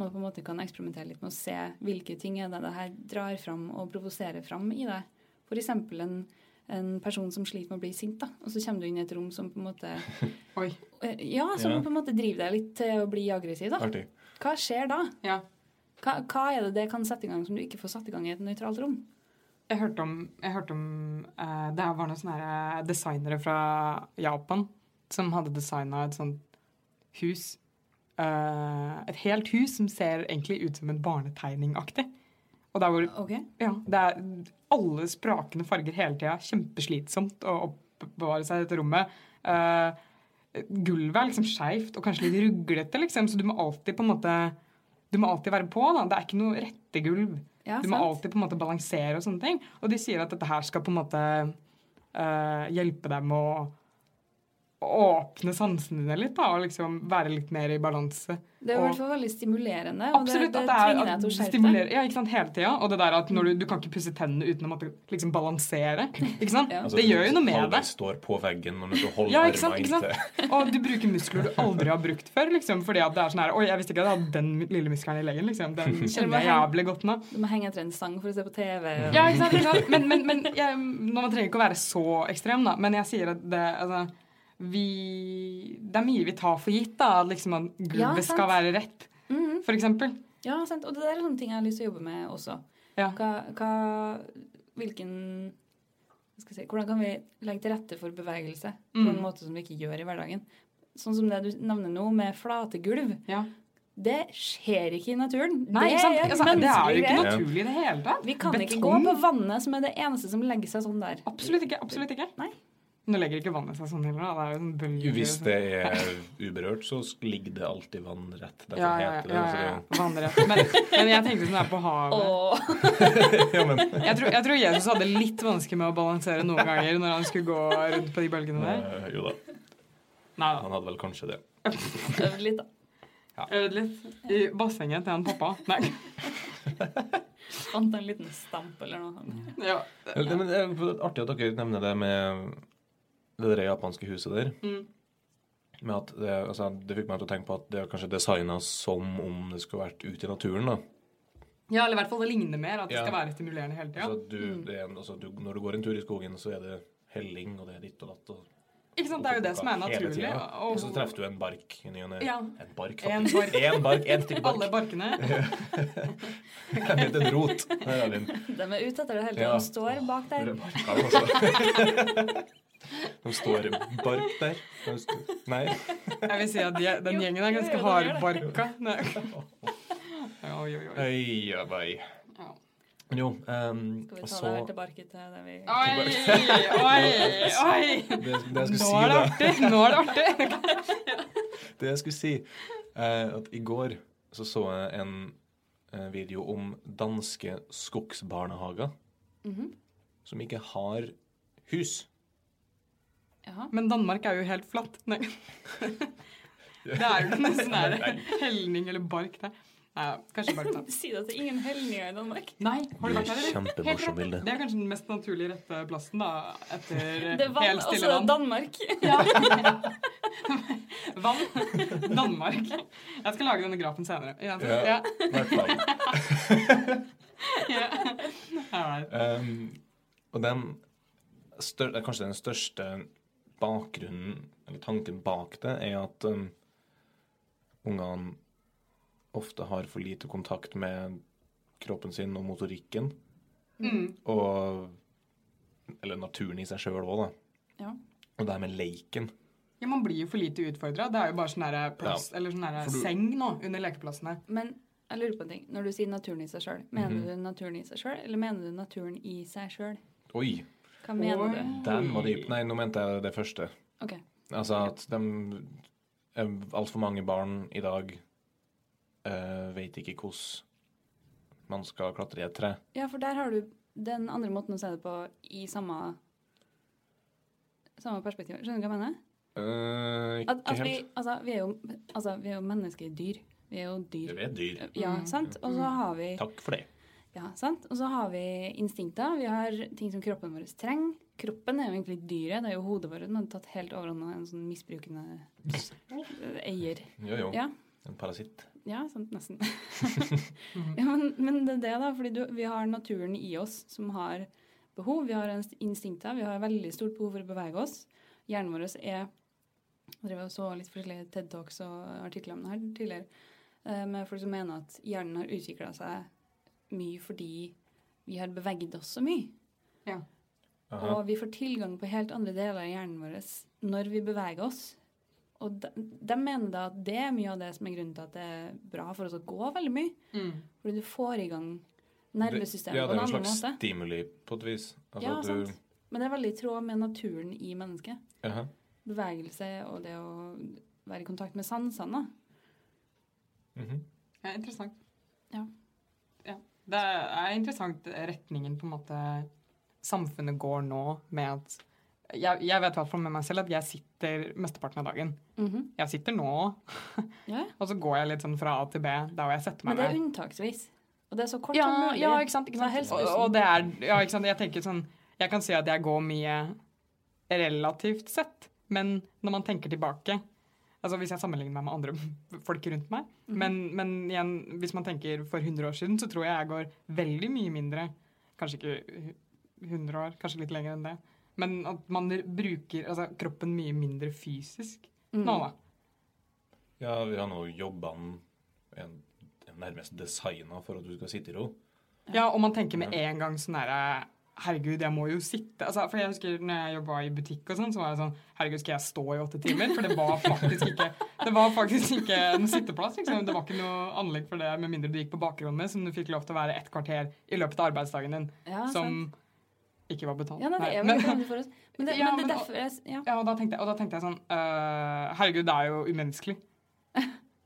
Speaker 3: man på en måte kan eksperimentere litt med å se hvilke ting er det det her drar fram og provoserer fram i deg. F.eks. En, en person som sliter med å bli sint, da. og så kommer du inn i et rom som på en måte
Speaker 2: Oi.
Speaker 3: eh, Ja, som
Speaker 1: Ja.
Speaker 3: på en måte driver deg litt til å bli aggressiv. da.
Speaker 1: artig.
Speaker 3: Hva skjer da?
Speaker 2: Ja.
Speaker 3: Hva, hva er det det kan sette i gang som du ikke får satt i gang i et nøytralt rom?
Speaker 2: Jeg hørte om, jeg hørte om eh, Det her var noen sånne her, eh, designere fra Japan som hadde designa et sånt hus. Eh, et helt hus som ser egentlig ut som en barnetegningaktig. Og der hvor
Speaker 3: Ok.
Speaker 2: Ja, det er alle sprakende farger hele tida. Kjempeslitsomt å oppbevare seg i dette rommet. Eh, gulvet er liksom skeivt og kanskje litt ruglete, liksom, så du må alltid på en måte Du må alltid være på. da. Det er ikke noe rette gulv.
Speaker 3: Ja,
Speaker 2: du må
Speaker 3: sant.
Speaker 2: alltid på en måte balansere og sånne ting. Og de sier at dette her skal på en måte eh, hjelpe dem å åpne sansene dine litt, da, og liksom være litt mer i balanse.
Speaker 3: Det er i
Speaker 2: Og-
Speaker 3: hvert fall veldig stimulerende. Og
Speaker 2: Absolutt.
Speaker 3: det,
Speaker 2: at
Speaker 3: det,
Speaker 2: det
Speaker 3: tvinger
Speaker 2: er
Speaker 3: deg
Speaker 2: at det
Speaker 3: til å skjerpe deg.
Speaker 2: stimulerer. Ja, ikke sant, hele tida. Og det der at når du, du kan ikke pusse tennene uten å måtte liksom balansere. Ikke sant?
Speaker 3: Ja.
Speaker 1: Altså,
Speaker 2: Det gjør jo noe med
Speaker 1: Alle
Speaker 2: det.
Speaker 1: står på veggen og du holder
Speaker 2: Ja, ikke sant,
Speaker 1: armen
Speaker 2: ikke sant? Og du bruker muskler du aldri har brukt før. liksom, fordi at det er sånn her, Oi, jeg visste ikke at jeg hadde den lille muskelen i leggen. liksom, Den kjenner jeg jævlig godt nå.
Speaker 3: Du må henge etter en sang for å se på TV. og-
Speaker 2: Ja, ikke sant, ikke sant? Men, men, men jeg, nå, man trenger ikke å være så ekstrem, da. Men jeg sier at det altså, vi, Det er mye vi tar for gitt, da. At liksom at
Speaker 3: Ja,
Speaker 2: gulvet
Speaker 3: sant.
Speaker 2: skal være rett,
Speaker 3: Mhm.
Speaker 2: for eksempel.
Speaker 3: ja, sant. Og det der er sånne ting jeg har lyst til å jobbe med også.
Speaker 2: Ja.
Speaker 3: Hva, hva, hvilken hva skal jeg si, Hvordan kan vi legge til rette for bevegelse på en
Speaker 2: Mm.
Speaker 3: måte som vi ikke gjør i hverdagen? Sånn som det du nevner nå, med flate gulv.
Speaker 2: Ja.
Speaker 3: Det skjer ikke i naturen.
Speaker 2: Nei,
Speaker 3: det
Speaker 2: ikke sant?
Speaker 3: er
Speaker 2: Ikke sant? Det er jo ikke
Speaker 3: menneskelig greie.
Speaker 1: grep.
Speaker 2: naturlig i det hele tatt.
Speaker 3: Vi kan ikke gå
Speaker 2: Betong.
Speaker 3: på vannet, som er det eneste som legger seg sånn der.
Speaker 2: Absolutt ikke. absolutt ikke.
Speaker 3: Nei.
Speaker 2: Nå legger ikke vannet seg sånn heller. da. Det er jo sånn bølger.
Speaker 1: Hvis
Speaker 2: og sånn.
Speaker 1: det er uberørt, så ligger det alltid vann rett. Derfor
Speaker 2: ja, ja,
Speaker 1: heter det
Speaker 2: ja,
Speaker 1: altså,
Speaker 2: ja,
Speaker 1: det.
Speaker 2: ja. Vannrett. Men, men jeg tenkte sånn her på havet.
Speaker 3: Åh.
Speaker 2: Jeg tror, jeg tror Jesus hadde litt vanskelig med å balansere noen ganger når han skulle gå rundt på de bølgene der.
Speaker 1: Eh, jo da,
Speaker 2: Nei da.
Speaker 1: han hadde vel kanskje det.
Speaker 3: Øvd litt, da.
Speaker 2: Øvd litt i bassenget til han pappa. Nei.
Speaker 3: Fant en liten stamp eller noe.
Speaker 2: Ja.
Speaker 1: Men Eh, det- men det er artig at dere nevner det med det der japanske huset der.
Speaker 2: Mm.
Speaker 1: Med at det, altså, det fikk meg til å tenke på at det er kanskje designa som om det skulle vært ute i naturen. da.
Speaker 2: ja, eller i hvert fall det ligner mer. At det
Speaker 1: Ja.
Speaker 2: skal være stimulerende hele tida.
Speaker 1: Så at du, det er en, altså, du, når du går en tur i skogen, så er det helling, og det er ditt og datt. Og,
Speaker 2: Ikke sant? Det er jo det som er
Speaker 1: hele
Speaker 2: naturlig.
Speaker 1: tiden.
Speaker 2: og-
Speaker 1: Og så treffer du en bark i ny og ne.
Speaker 2: Ja.
Speaker 1: En bark,
Speaker 2: En
Speaker 1: faktisk.
Speaker 2: bark.
Speaker 1: En bark, en stygg bark.
Speaker 2: Alle barkene.
Speaker 1: En liten rot. Der er den.
Speaker 3: De er ute etter det hele tiden.
Speaker 1: Ja.
Speaker 3: De står bak
Speaker 1: Der
Speaker 3: der.
Speaker 1: er barkene også. De står bark der. De sto- Nei.
Speaker 2: Jeg vil si at de, den
Speaker 3: Jo,
Speaker 2: gjengen er
Speaker 3: jo,
Speaker 2: ganske
Speaker 3: jo, den gjør
Speaker 2: hardbarka. Nei. Oi, oi, oi.
Speaker 1: Øy, ja, vei.
Speaker 2: Ja.
Speaker 1: Men jo, ehm, og
Speaker 3: Skal vi ta det
Speaker 1: så
Speaker 3: her tilbake til det vi
Speaker 2: Oi, oi, oi!
Speaker 1: det, det jeg skulle
Speaker 2: Nå
Speaker 1: si,
Speaker 2: er det
Speaker 1: da
Speaker 2: artig! Nå er det artig!
Speaker 1: Det jeg skulle si, eh, at i går så så jeg en eh, video om danske skogsbarnehager
Speaker 3: Mhm.
Speaker 1: som ikke har hus.
Speaker 3: Jaha.
Speaker 2: Men Danmark er jo helt flatt. Nei. Det er jo nesten er det helning eller bark der. Nei, kanskje bark, da.
Speaker 3: Si det til ingen helninger i Danmark.
Speaker 2: Nei, har du vært
Speaker 1: Det er
Speaker 2: der, eller?
Speaker 1: kjempemorsom
Speaker 2: Helt rett.
Speaker 1: bilde.
Speaker 2: Det er kanskje den mest naturlige rette plassen, da. Etter
Speaker 3: Det er vann,
Speaker 2: helt
Speaker 3: og så
Speaker 2: stille
Speaker 3: er det
Speaker 2: vann.
Speaker 3: Danmark.
Speaker 2: Vann. Danmark. Jeg skal lage denne grafen senere. Ja. Ja.
Speaker 1: Ja. I hvert fall.
Speaker 2: Ja. Ja.
Speaker 1: Ehm, og den stør, det er kanskje den største bakgrunnen, eller tanken bak det, er at um, ungene ofte har for lite kontakt med kroppen sin og motorikken.
Speaker 2: Mm.
Speaker 1: Og Eller naturen i seg sjøl òg, da.
Speaker 3: Ja.
Speaker 1: Og det her med leiken.
Speaker 2: Ja, man blir jo for lite utfordra. Det er jo bare sånn her plass, eller sånn her
Speaker 1: For du-
Speaker 2: seng nå, under lekeplassene.
Speaker 3: Men jeg lurer på en ting. Når du sier naturen i seg sjøl, mener du naturen i seg sjøl, eller mener du naturen i seg sjøl?
Speaker 1: Oi!
Speaker 3: Hva mener du?
Speaker 2: Oi.
Speaker 1: Den var dyp. Nei, nå mente jeg det første.
Speaker 3: Ok.
Speaker 1: Altså at de Altfor mange barn i dag eh, vet ikke hvordan man skal klatre i et tre.
Speaker 3: Ja, for der har du den andre måten å se det på i samme samme perspektiv. Skjønner du hva jeg mener?
Speaker 1: Eh, ikke
Speaker 3: At, at vi,
Speaker 1: helt.
Speaker 3: altså, vi, er jo, altså, vi er jo menneskedyr. Vi er jo dyr.
Speaker 1: Vi er dyr.
Speaker 3: Ja, sant? Og så har vi
Speaker 1: Takk for det.
Speaker 3: Ja, sant? Og så har vi instinkter. Vi har ting som kroppen vår trenger. Kroppen er jo egentlig dyret. Det er jo hodet vårt som har tatt helt overhånd av en sånn misbrukende eh, eier.
Speaker 1: Jo, jo.
Speaker 3: Ja,
Speaker 1: En parasitt.
Speaker 3: ja sant, nesten. ja, men, men det er det, da. Fordi du, vi har naturen i oss som har behov. Vi har inst- instinkter. Vi har veldig stort behov for å bevege oss. Hjernen vår er Jeg drev og så litt forskjellige TED Talks og artikler om det her tidligere. eh, Med folk som mener at hjernen har utvikla seg mye fordi vi har beveget oss så mye.
Speaker 1: Aha.
Speaker 3: Og vi får tilgang på helt andre deler av hjernen vår når vi beveger oss. Og de, de mener da at det er mye av det som er grunnen til at det er bra for oss å gå veldig mye. Fordi du får i gang nervesystemet
Speaker 1: Det- ja,
Speaker 3: på
Speaker 1: det er
Speaker 3: en
Speaker 1: en
Speaker 3: annen
Speaker 1: slags
Speaker 3: måte.
Speaker 1: stimuli, på et vis. Altså
Speaker 3: Ja,
Speaker 1: at du,
Speaker 3: sant. Men det er veldig i tråd med naturen i mennesket.
Speaker 1: Aha.
Speaker 3: Bevegelse og det å være i kontakt med sansene.
Speaker 1: Mhm.
Speaker 2: Ja, interessant.
Speaker 3: Ja.
Speaker 2: Det er interessant retningen på en måte samfunnet går nå med at jeg, jeg vet i hvert fall med meg selv at jeg sitter mesteparten av dagen.
Speaker 3: Mhm.
Speaker 2: Jeg sitter nå,
Speaker 3: ja.
Speaker 2: og så går jeg litt sånn fra A til B der hvor jeg setter
Speaker 3: Men
Speaker 2: meg
Speaker 3: det er
Speaker 2: ned.
Speaker 3: unntaksvis. Og det er så kort
Speaker 2: Ja,
Speaker 3: som mulig.
Speaker 2: ja, ikke sant. Ikke
Speaker 3: Det er
Speaker 2: sant? Og,
Speaker 3: helsebussen.
Speaker 2: og det er Ja, ikke sant. Jeg tenker sånn Jeg kan si at jeg går mye relativt sett, men når man tenker tilbake Altså Hvis jeg sammenligner meg med andre folk rundt meg
Speaker 3: Mhm.
Speaker 2: men, men igjen, hvis man tenker for 100 år siden, så tror jeg jeg går veldig mye mindre. Kanskje ikke hu- 100 år, kanskje litt lenger enn det. Men at man r- bruker altså, kroppen mye mindre fysisk
Speaker 3: Mm. Mhm.
Speaker 2: nå, da.
Speaker 1: Ja, vi har nå jobbene en, en nærmest designa for at du skal sitte i ro.
Speaker 2: Ja, og man tenker med en gang sånn derre Herregud, jeg må jo sitte. Altså, for jeg husker når jeg jobba i butikk og sånn, så var jeg sånn Herregud, skal jeg stå i åtte timer? For det var faktisk ikke Det var faktisk ikke en sitteplass. Liksom. Det var ikke noe anlegg for det, med mindre du gikk på bakrommet, som du fikk lov til å være et kvarter i løpet av arbeidsdagen din, som
Speaker 3: Ja, Ah, sant.
Speaker 2: ikke var betalt.
Speaker 3: Ja, nei, det er jo
Speaker 2: men,
Speaker 3: litt vanlig for oss. Men det,
Speaker 2: Ja,
Speaker 3: men det er
Speaker 2: men-
Speaker 3: derfor jeg s- ja.
Speaker 2: ja, og da tenkte jeg, og da tenkte jeg sånn øh, Herregud, det er jo umenneskelig.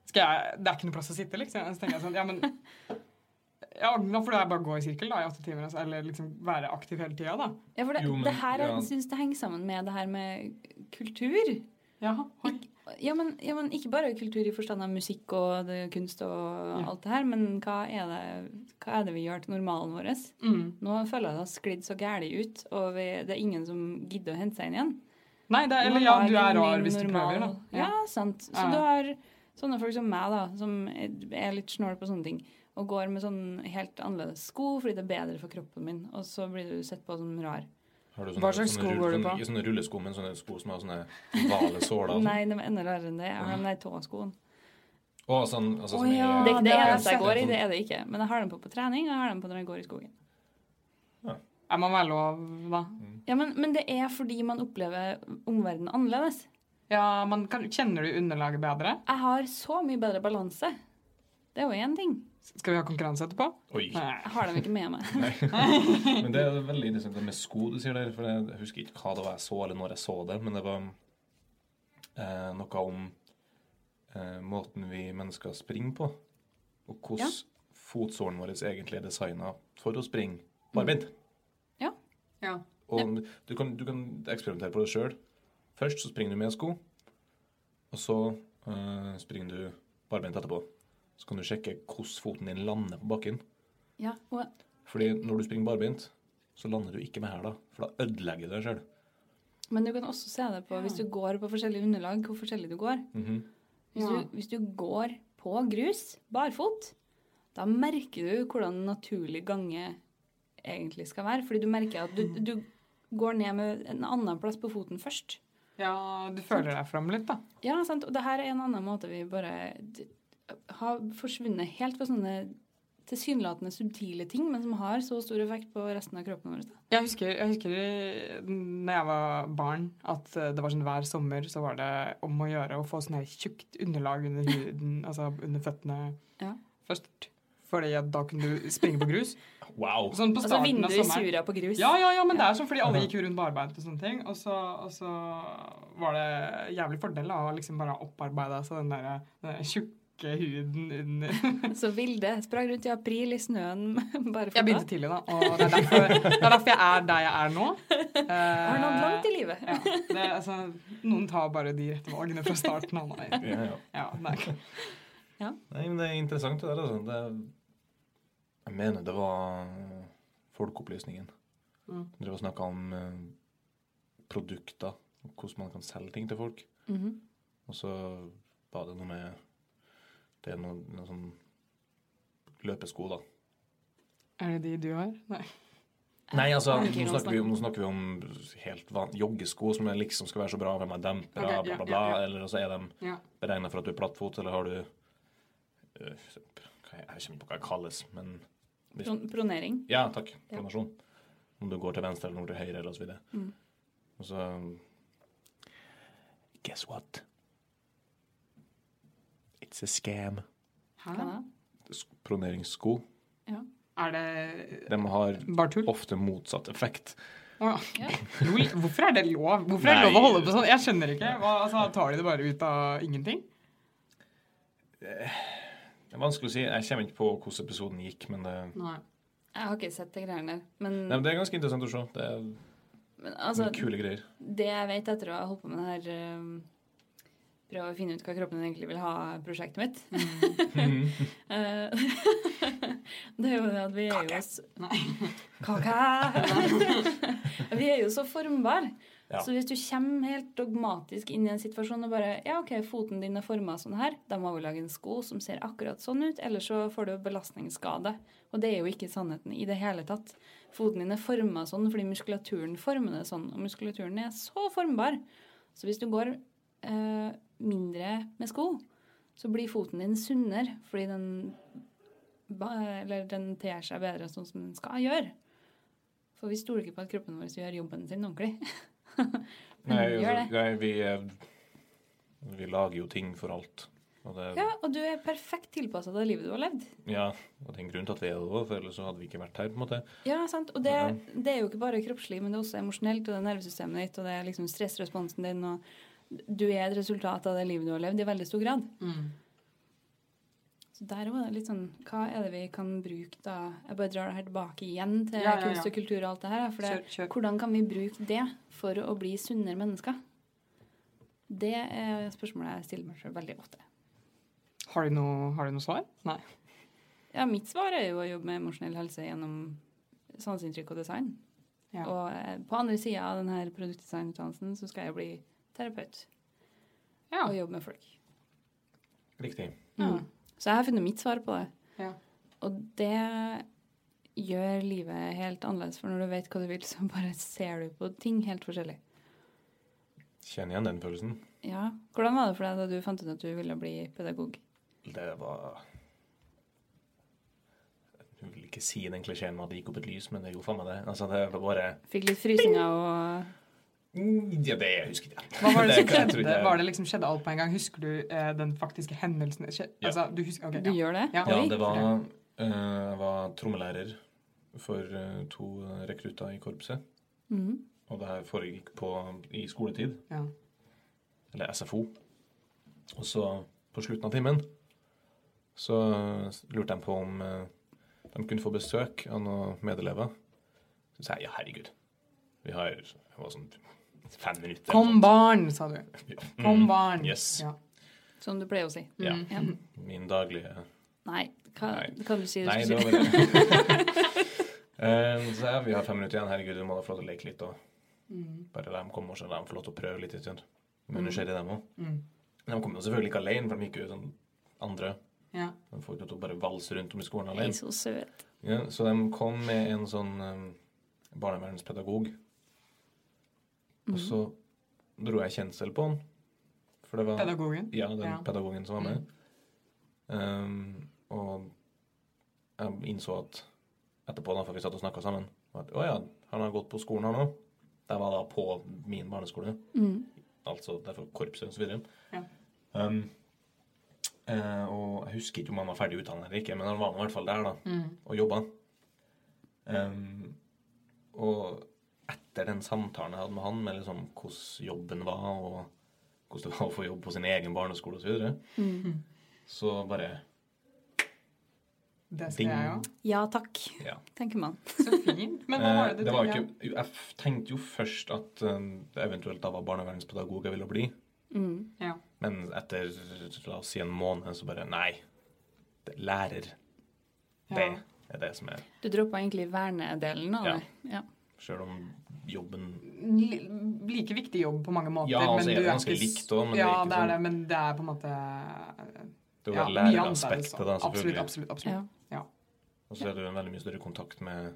Speaker 2: Skal jeg, det er ikke noe plass å sitte, liksom. Så tenker jeg sånn, ja, men ja, Da får jeg bare gå i sirkel da, i åtte timer, altså, eller liksom være aktiv hele tida, da.
Speaker 3: ja, for det,
Speaker 1: Jo, men-
Speaker 3: det her
Speaker 1: ja.
Speaker 3: jeg syns det henger sammen med det her med kultur.
Speaker 2: Jaha, oi.
Speaker 3: Ja men, ja, men ikke bare kultur i forstand av musikk og det, kunst og alt det her, men hva er det, hva er det vi gjør til normalen vår?
Speaker 2: Mm.
Speaker 3: Nå føler jeg det har sklidd så gæli ut, og vi, det er ingen som gidder å hente seg inn igjen.
Speaker 2: Nei, det er, eller ja, du er rar hvis du prøver, da.
Speaker 3: Ja, sant. Så
Speaker 2: Ja.
Speaker 3: du har sånne folk som meg, da, som er litt snål på sånne ting, og går med sånn helt annerledes sko fordi det er bedre for kroppen min, og så blir du sett på som rar.
Speaker 1: Har du
Speaker 2: Hva slags sko
Speaker 1: rull-
Speaker 2: går du
Speaker 1: sånne,
Speaker 2: på?
Speaker 1: Ikke sånne rullesko, men sånne sko som har sånne ovale såler. og sånn.
Speaker 3: Nei, de er enda rarere enn det. Jeg har de der tåskoene.
Speaker 1: Å, sånn, altså,
Speaker 2: Å,
Speaker 1: som i-
Speaker 2: ja.
Speaker 3: Det er
Speaker 2: Ah,
Speaker 3: ikke det
Speaker 2: det har jeg
Speaker 3: eneste jeg
Speaker 2: sett.
Speaker 3: går i, det er det ikke. Men jeg har dem på på trening, og jeg har dem på når jeg går i skogen.
Speaker 2: Er man være lov, da?
Speaker 3: Ja, men, men det er fordi man opplever omverdenen annerledes.
Speaker 2: Ja, man kan, Kjenner du underlaget bedre?
Speaker 3: Jeg har så mye bedre balanse. Det er jo én ting.
Speaker 2: Skal vi ha konkurranse etterpå?
Speaker 1: Oi.
Speaker 2: Nei.
Speaker 3: Jeg har dem ikke med meg.
Speaker 1: Men det er veldig interessant det med sko du sier der, for jeg husker ikke hva det var jeg så, eller når jeg så det, men det var eh, noe om eh, måten vi mennesker springer på, og hvordan fotsålen vår egentlig er designa for å springe barbeint.
Speaker 3: Ja.
Speaker 2: Ja.
Speaker 1: Og du kan, du kan eksperimentere på det sjøl. Først så springer du med sko, og så eh, springer du barbeint etterpå. Så kan du sjekke hvordan foten din lander på bakken.
Speaker 3: Ja, og
Speaker 1: Fordi når du springer barbeint, så lander du ikke med hæla, for da ødelegger du deg sjøl.
Speaker 3: Men du kan også se det på hvis du går på forskjellige underlag, hvor forskjellig du går.
Speaker 2: Mhm.
Speaker 3: hvis,
Speaker 2: Ja.
Speaker 3: du, hvis du går på grus, barfot, da merker du hvordan naturlig gange egentlig skal være. Fordi du merker at du,
Speaker 2: Mhm.
Speaker 3: du går ned med en annen plass på foten først.
Speaker 2: ja, du føler deg fram litt, da.
Speaker 3: Ja, sant? Og det her er en annen måte vi bare d- har forsvunnet helt fra sånne tilsynelatende subtile ting, men som har så stor effekt på resten av kroppen vår. da.
Speaker 2: Jeg husker, jeg husker i- når jeg var barn, at eh, det var sånn hver sommer så var det om å gjøre å få sånn her tjukt underlag under huden, altså under føttene
Speaker 3: Ja.
Speaker 2: først. Fordi at da kunne du springe på grus.
Speaker 1: Wow!
Speaker 2: Sånn på
Speaker 3: Altså
Speaker 2: starten
Speaker 3: vindu
Speaker 2: av
Speaker 3: i
Speaker 2: sommeren.
Speaker 3: sura på grus.
Speaker 2: Ja, ja, ja, men det er sånn fordi alle gikk jo rundt barbeint og sånne ting. Og så, og så var det jævlig fordel da, å liksom bare opparbeide seg den der, den der tjukke huden under
Speaker 3: Så Vilde sprang rundt i april i snøen bare for
Speaker 2: Jeg begynte tidlig, da, og det er derfor, det er derfor jeg er der jeg er nå. Eh,
Speaker 3: Har nådd langt i livet.
Speaker 2: Ja, det, er altså, noen tar bare de rette valgene fra starten av. Nei.
Speaker 1: Ja, ja.
Speaker 2: Ja, nei.
Speaker 1: Nei, men det er interessant det der, altså. Det, jeg mener det var Folkeopplysningen.
Speaker 2: Mm.
Speaker 1: Dere var snakka om eh, produkter, og hvordan man kan selge ting til folk. Og så var det noe med Det er noe, noe sånn løpesko, da.
Speaker 2: Er det de du har? Nei.
Speaker 1: Nei,
Speaker 2: Eh,
Speaker 1: altså, nå
Speaker 3: Jeg orker ikke å
Speaker 1: snakker, vi, nå snakker vi om helt van joggesko som er liksom skal være så bra, hvem er dempere,
Speaker 2: Ok, ja,
Speaker 1: bla, bla,
Speaker 2: ja,
Speaker 1: bla.
Speaker 2: ja.
Speaker 1: Eller så er de
Speaker 2: Ja.
Speaker 1: beregna for at du er plattfot, eller har du øh, hva, Jeg kjenner ikke på hva det kalles, men
Speaker 3: Pron- Pronering.
Speaker 1: Ja, takk. Pronasjon. Om du går til venstre eller om du til høyre, eller så videre.
Speaker 2: Mm.
Speaker 1: Og så um, Guess what? It's a scam.
Speaker 3: Hva da?
Speaker 1: Sk- Proneringssko.
Speaker 3: Ja.
Speaker 2: Er det
Speaker 1: De har
Speaker 2: bare tull?
Speaker 1: ofte motsatt effekt.
Speaker 2: Å, ja.
Speaker 3: Ja.
Speaker 2: Jo, Hvorfor er det lov? Hvorfor er det lov å
Speaker 1: Nei.
Speaker 2: holde på sånn? Jeg skjønner ikke. Hva, altså, tar de det bare ut av ingenting?
Speaker 1: Jeg Det er vanskelig å si. Jeg kommer ikke på hvordan episoden gikk, men det,
Speaker 2: Nei.
Speaker 3: Jeg har ikke sett de greiene der. Men,
Speaker 2: Mm.
Speaker 1: Nei, men det er ganske interessant å se. Det er
Speaker 3: men altså,
Speaker 1: mye kule greier.
Speaker 3: det jeg vet etter å ha holdt på med det her eh, Prøve å finne ut hva kroppen din egentlig vil ha, prosjektet mitt eh, Det er jo det at vi er jo s-
Speaker 2: Nei.
Speaker 3: Kake! vi er jo så formbare.
Speaker 1: Ja.
Speaker 3: Så hvis du kommer helt dogmatisk inn i en situasjon og bare Ja, OK, foten din er forma sånn her. Da må vi lage en sko som ser akkurat sånn ut. Ellers så får du belastningsskade. Og det er jo ikke sannheten i det hele tatt. Foten din er forma sånn fordi muskulaturen former det sånn. Og muskulaturen er så formbar. Så hvis du går eh, mindre med sko, så blir foten din sunnere fordi den ba, eller den ter seg bedre sånn som den skal gjøre. For vi stoler ikke på at kroppen vår gjør jobben sin ordentlig.
Speaker 2: mm,
Speaker 1: Nei,
Speaker 3: gjør
Speaker 1: altså,
Speaker 3: det.
Speaker 1: nei vi, eh, vi lager jo ting for alt. Og det,
Speaker 3: Ja, og du er perfekt tilpassa det livet du har levd.
Speaker 1: ja, og det er en grunn til at vi er det òg, for ellers så hadde vi ikke vært her. på en måte.
Speaker 3: Ja, sant? Og det,
Speaker 1: Ja.
Speaker 3: det er jo ikke bare kroppslig, men det er også emosjonelt, og det er nervesystemet ditt, og det er liksom stressresponsen din, og du er et resultat av det livet du har levd i veldig stor grad.
Speaker 2: Mm.
Speaker 3: Så der var det litt sånn Hva er det vi kan bruke da Jeg bare drar det her tilbake igjen til
Speaker 2: Ja, ja, ja.
Speaker 3: kunst og kultur og alt det her. da, For det,
Speaker 2: Kjør, kjør.
Speaker 3: hvordan kan vi bruke det for å bli sunnere mennesker? Det er spørsmålet jeg stiller meg selv veldig ofte.
Speaker 2: Har, du noe, har du noe svar? Nei.
Speaker 3: Ja, mitt svar er jo å jobbe med emosjonell helse gjennom sanseinntrykk og design.
Speaker 2: Ja.
Speaker 3: Og eh, på andre sida av denne produktdesignutdannelsen så skal jeg bli terapeut
Speaker 2: Ja.
Speaker 3: og jobbe med folk.
Speaker 1: Riktig.
Speaker 2: Mm.
Speaker 3: Så jeg har funnet mitt svar på det.
Speaker 2: Ja.
Speaker 3: Og det gjør livet helt annerledes, for når du vet hva du vil, så bare ser du på ting helt forskjellig.
Speaker 1: Kjenner igjen den følelsen.
Speaker 3: Ja. Hvordan var det for deg da du fant ut at du ville bli pedagog?
Speaker 1: Det var Jeg vil ikke si den klisjeen med at det gikk opp et lys, men det gjorde faen meg det. Altså, det var bare
Speaker 3: Fikk litt frysninger og
Speaker 1: Mm, Ja, det jeg husker jeg.
Speaker 2: Hva var det som
Speaker 1: kan jeg tro
Speaker 2: skjedde?
Speaker 1: ikke-
Speaker 2: Var det liksom skjedde alt på en gang? Husker du eh, den faktiske hendelsen? Skje-
Speaker 1: Ja.
Speaker 2: Altså, du husker, ok,
Speaker 3: Du
Speaker 2: ja.
Speaker 3: gjør det?
Speaker 2: Ja.
Speaker 1: Ja,
Speaker 3: Oi.
Speaker 1: det var eh, Jeg var trommelærer for eh, to rekrutter i korpset.
Speaker 3: Mhm.
Speaker 1: Og det her foregikk på, i skoletid,
Speaker 2: Ja.
Speaker 1: eller SFO. Og så, på slutten av timen, så lurte de på om eh, de kunne få besøk av noen medelever. Så sa jeg ja, herregud. Vi har det var sånn fem minutter.
Speaker 2: Kom barn, sa du.
Speaker 1: Ja.
Speaker 2: Kom barn.
Speaker 1: Mm. yes.
Speaker 2: Ja.
Speaker 3: Som du pleier å si.
Speaker 1: Ja.
Speaker 2: Mm.
Speaker 3: Ja.
Speaker 1: Min daglige
Speaker 3: Nei, hva
Speaker 1: Nei.
Speaker 3: kan du si? Du
Speaker 1: Nei,
Speaker 3: skulle
Speaker 1: det
Speaker 3: si-
Speaker 1: var det. Eh, så ja, vi har fem minutter igjen. Herregud, vi må da få lov til å leke litt òg.
Speaker 2: Mm.
Speaker 1: Bare de kommer, så de får lov til å prøve litt. en stund. Men nysgjerrig, dem òg.
Speaker 2: Mm.
Speaker 1: De kom jo selvfølgelig ikke alene, for de gikk jo sånn andre.
Speaker 2: Ja.
Speaker 1: De får ikke lov til å bare valse rundt om i skolen
Speaker 3: Nei,
Speaker 1: alene.
Speaker 3: så søt.
Speaker 1: Ja, så de kom med en sånn um, barnevernspedagog. Og så dro jeg kjensel på han. For det var
Speaker 2: Pedagogen.
Speaker 1: Ja, den
Speaker 2: Ja.
Speaker 1: pedagogen som var med. Um, og jeg innså at etterpå, da, for vi satt og snakka sammen at, Å ja, han har gått på skolen, han òg. Det var da på min barneskole.
Speaker 3: Mm.
Speaker 1: Altså derfor korpset og så videre.
Speaker 2: Ja.
Speaker 1: Um, eh, og jeg husker ikke om han var ferdig utdannet eller ikke, men han var nå i hvert fall der, da
Speaker 2: Mm.
Speaker 1: og jobba. Ehm, og etter den samtalen jeg hadde med han, med liksom hvordan jobben var, og hvordan det var å få jobb på sin egen barneskole osv., så, videre,
Speaker 2: Mm-hmm.
Speaker 3: Mm.
Speaker 1: så bare
Speaker 2: Det skal
Speaker 1: Ding.
Speaker 2: jeg jo.
Speaker 3: Ja takk,
Speaker 1: Ja.
Speaker 3: tenker man.
Speaker 2: Så fint. Men hva var
Speaker 1: Eh,
Speaker 2: det du
Speaker 1: det var jo
Speaker 2: tenkte?
Speaker 1: ikke, jeg f- tenkte jo først at eh, det eventuelt da var barnevernspedagog jeg ville bli,
Speaker 3: Mm.
Speaker 2: Ja.
Speaker 1: men etter la oss si en måned, så bare Nei, det er lærer. Det
Speaker 2: Ja.
Speaker 1: er det som er
Speaker 3: Du droppa egentlig vernedelen av
Speaker 1: Ja.
Speaker 3: det. Ja.
Speaker 1: Sjøl om jobben
Speaker 2: Li- Like viktig jobb på mange måter.
Speaker 1: Ja, altså,
Speaker 2: men
Speaker 1: er det
Speaker 2: du
Speaker 1: ganske
Speaker 2: ikke s-
Speaker 1: likt også, men det er
Speaker 2: ja,
Speaker 1: ikke
Speaker 2: det er
Speaker 1: sånn-
Speaker 2: det, men det er på en måte ja,
Speaker 1: Det er jo
Speaker 2: mye
Speaker 1: læreraspektet, da,
Speaker 2: annerledes,
Speaker 1: selvfølgelig.
Speaker 2: Absolutt, absolutt. absolutt.
Speaker 3: Ja.
Speaker 2: Ja.
Speaker 1: Og så er det jo en veldig mye større kontakt med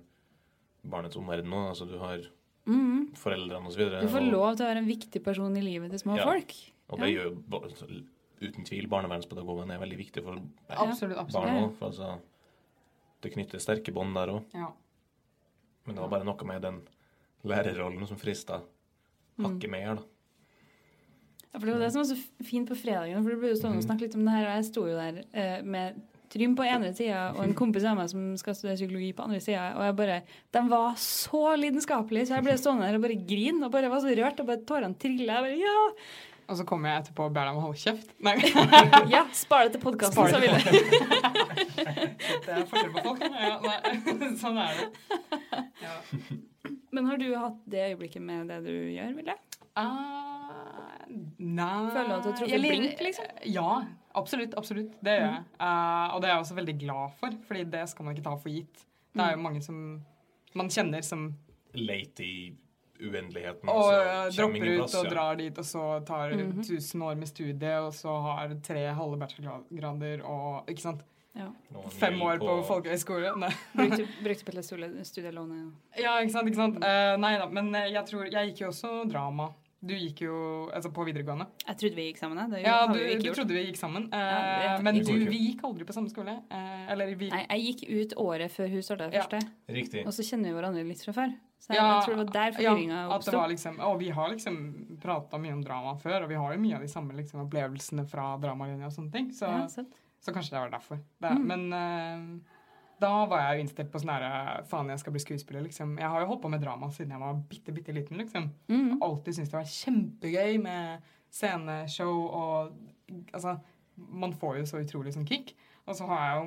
Speaker 1: barnets omverden òg. Altså, du har
Speaker 3: Mm.
Speaker 1: foreldrene osv. Og, så
Speaker 3: Du får
Speaker 1: videre, og,
Speaker 3: lov til å være en viktig person i livet til små
Speaker 1: Ja.
Speaker 3: folk.
Speaker 1: og det
Speaker 3: Ja.
Speaker 1: gjør jo ba- altså, uten tvil barnevernspedagogen er veldig viktig for
Speaker 2: Absolutt, absolutt.
Speaker 1: barn òg. For altså, det knyttes sterke bånd der òg.
Speaker 2: Ja.
Speaker 1: Men det var bare noe med den lærerrollen som frista
Speaker 2: Mm.
Speaker 1: hakket mer, da.
Speaker 3: Ja, for Det var det som var så f- fint på fredagen, for du ble jo stående og
Speaker 2: Mhm.
Speaker 3: snakke litt om det her, og jeg sto jo der eh, med Trym på ene sida og en kompis av meg som skal studere psykologi på andre sida, og jeg bare De var så lidenskapelige, så jeg ble stående der og bare grine og bare var så rørt, og bare tårene trilla. Jeg bare Ja!
Speaker 2: og så kommer jeg etterpå og ber deg om å holde kjeft. Nei,
Speaker 3: Ja, spar det til podkasten,
Speaker 2: Spar det
Speaker 3: så vil jeg.
Speaker 2: det er forskjell på folk. Ja, nei, sånn er det. Ja.
Speaker 3: Men har du hatt det øyeblikket med det du gjør, Vilde?
Speaker 2: Ah, nei
Speaker 3: Føler du at du har truffet
Speaker 2: Eller-
Speaker 3: blink, liksom? Mm.
Speaker 2: Ja, absolutt. absolutt, Det gjør jeg. Eh, og det er jeg også veldig glad for, fordi det skal man ikke ta for gitt. Det
Speaker 3: Mm.
Speaker 2: er jo mange som man kjenner som
Speaker 1: Late i uendeligheten.
Speaker 2: og,
Speaker 1: så
Speaker 2: eh,
Speaker 1: kommer
Speaker 2: dropper
Speaker 1: ingen
Speaker 2: ut
Speaker 1: plass,
Speaker 2: og
Speaker 1: ja.
Speaker 2: drar dit, og så tar
Speaker 3: Mm-hmm.
Speaker 2: tusen år med studie, og så har tre halve bachelorgrader og ikke sant,
Speaker 3: Ja.
Speaker 1: Noen
Speaker 2: fem
Speaker 1: gir
Speaker 2: år på folkehøyskole. Nei.
Speaker 3: Brukte, brukte på hele studielånet.
Speaker 2: Ja, ikke sant. ikke sant? Eh, nei da, men eh, jeg tror Jeg gikk jo også drama. Du gikk jo altså på videregående.
Speaker 3: Jeg trodde vi gikk sammen. jeg. Det
Speaker 2: Ja,
Speaker 3: har
Speaker 2: du,
Speaker 3: vi jo ikke
Speaker 2: du
Speaker 3: gjort.
Speaker 2: trodde vi gikk sammen. eh,
Speaker 3: Ja, det-
Speaker 2: men
Speaker 1: Det går
Speaker 2: du,
Speaker 1: ikke.
Speaker 2: vi gikk aldri på samme skole. eh, eller vi
Speaker 3: Nei, jeg gikk ut året før hun starta
Speaker 2: Ja.
Speaker 3: første,
Speaker 1: Riktig.
Speaker 3: og så kjenner vi hverandre litt fra før. Så jeg,
Speaker 2: Ja,
Speaker 3: jeg tror det var der forvirringa
Speaker 2: ja, at det
Speaker 3: oppsto.
Speaker 2: var liksom, Og vi har liksom prata mye om drama før, og vi har jo mye av de samme liksom, opplevelsene fra dramalinja og sånne ting, så,
Speaker 3: Ja, sant.
Speaker 2: så kanskje det var derfor. Det,
Speaker 3: Mm.
Speaker 2: Men eh, da var jeg jo innstilt på sånn herre Faen, jeg skal bli skuespiller, liksom. Jeg har jo holdt på med drama siden jeg var bitte, bitte liten, liksom.
Speaker 3: Mm.
Speaker 2: alltid syntes det var kjempegøy med sceneshow og Altså, man får jo så utrolig sånn kick. Og så har jeg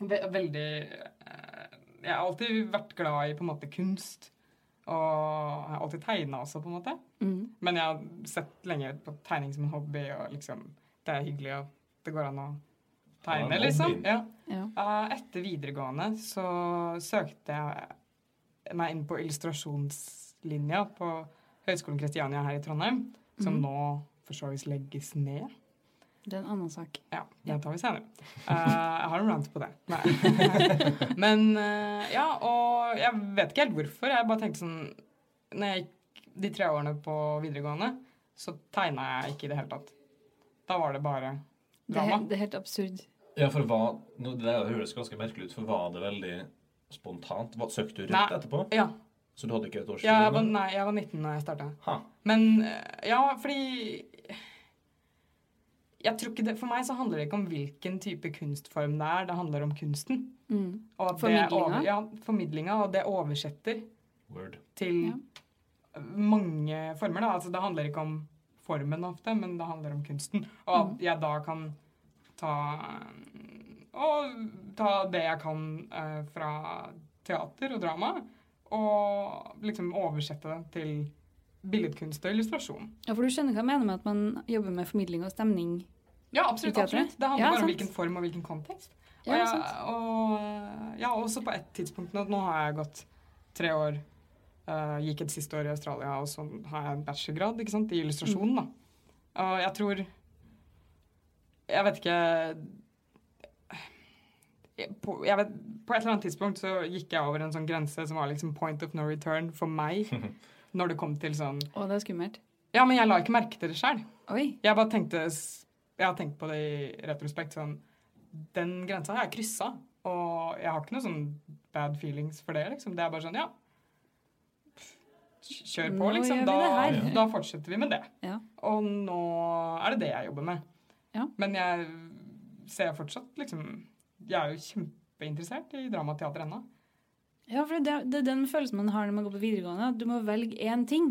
Speaker 2: jo ve veldig eh, Jeg har alltid vært glad i på en måte kunst. Og jeg har alltid tegna også, på en måte.
Speaker 3: Mm.
Speaker 2: Men jeg har sett lenge på tegning som en hobby, og liksom Det er hyggelig, og det går an å
Speaker 1: Ja, en
Speaker 2: tegne,
Speaker 1: hobby.
Speaker 2: liksom. Ja.
Speaker 3: Ja.
Speaker 2: Eh, Etter videregående så søkte jeg meg inn på illustrasjonslinja på Høgskolen Kristiania her i Trondheim, som
Speaker 3: Mhm.
Speaker 2: nå for så vidt legges ned.
Speaker 3: Det er en annen sak.
Speaker 2: Ja, det tar vi senere. Eh, jeg har en rant på det. Nei. Men eh, ja, og jeg vet ikke helt hvorfor. Jeg bare tenkte sånn Når jeg gikk de tre årene på videregående, så tegna jeg ikke i det hele tatt. Da var det bare
Speaker 3: Det er,
Speaker 2: drama.
Speaker 3: helt- det er helt absurd.
Speaker 1: Ja, for hva, nå, Det der høres ganske merkelig ut, for var det veldig spontant? Hva, søkte du rett
Speaker 2: Nei.
Speaker 1: etterpå?
Speaker 2: Ja,
Speaker 1: Så du hadde ikke et års
Speaker 2: jeg var, nei, jeg var 19 da jeg starta.
Speaker 1: Ha.
Speaker 2: Men eh, ja, fordi jeg tror ikke det, For meg så handler det ikke om hvilken type kunstform det er, det handler om kunsten.
Speaker 3: Mm.
Speaker 2: Og at det
Speaker 3: Formidlinga?
Speaker 2: over- Ja, formidlinga, og det oversetter
Speaker 1: Word.
Speaker 2: til
Speaker 3: Ja.
Speaker 2: mange former. da. Altså, det handler ikke om formen ofte, men det handler om kunsten. Og at
Speaker 3: Mhm.
Speaker 2: jeg da kan ta Og ta det jeg kan eh, fra teater og drama, og liksom oversette det til billedkunst og illustrasjon.
Speaker 3: Ja, for du skjønner hva jeg mener med at man jobber med formidling og stemning.
Speaker 2: Ja, absolutt.
Speaker 3: I teatret?
Speaker 2: absolutt. Det handler
Speaker 3: Ja,
Speaker 2: bare om
Speaker 3: sant.
Speaker 2: hvilken form og hvilken kontekst. Og
Speaker 3: Ja,
Speaker 2: jeg,
Speaker 3: sant?
Speaker 2: og, ja, også på et tidspunkt nå, nå har jeg gått tre år, eh, gikk et siste år i Australia, og så har jeg en bachelorgrad ikke sant, i
Speaker 3: Mm.
Speaker 2: illustrasjon. da. Og jeg tror Jeg vet ikke jeg- på, jeg vet, på et eller annet tidspunkt så gikk jeg over en sånn grense som var liksom point of no return for meg. Når det kom til sånn
Speaker 3: Å, det er skummelt.
Speaker 2: Ja, men jeg la ikke merke til det sjøl.
Speaker 3: Oi.
Speaker 2: Jeg bare tenkte Jeg har tenkt på det i retrospekt sånn Den grensa har jeg kryssa, og jeg har ikke noe sånn bad feelings for det, liksom. Det er bare sånn, ja Kjør på,
Speaker 3: Nå
Speaker 2: liksom.
Speaker 3: gjør vi
Speaker 2: Da,
Speaker 3: det her.
Speaker 2: da fortsetter vi med det.
Speaker 3: Ja.
Speaker 2: Og nå er det det jeg jobber med.
Speaker 3: Ja.
Speaker 2: Men jeg ser fortsatt liksom Jeg er jo kjempeinteressert i dramateater ennå.
Speaker 3: Ja, for det, er- det er den følelsen man har når man går på videregående. at Du må velge én ting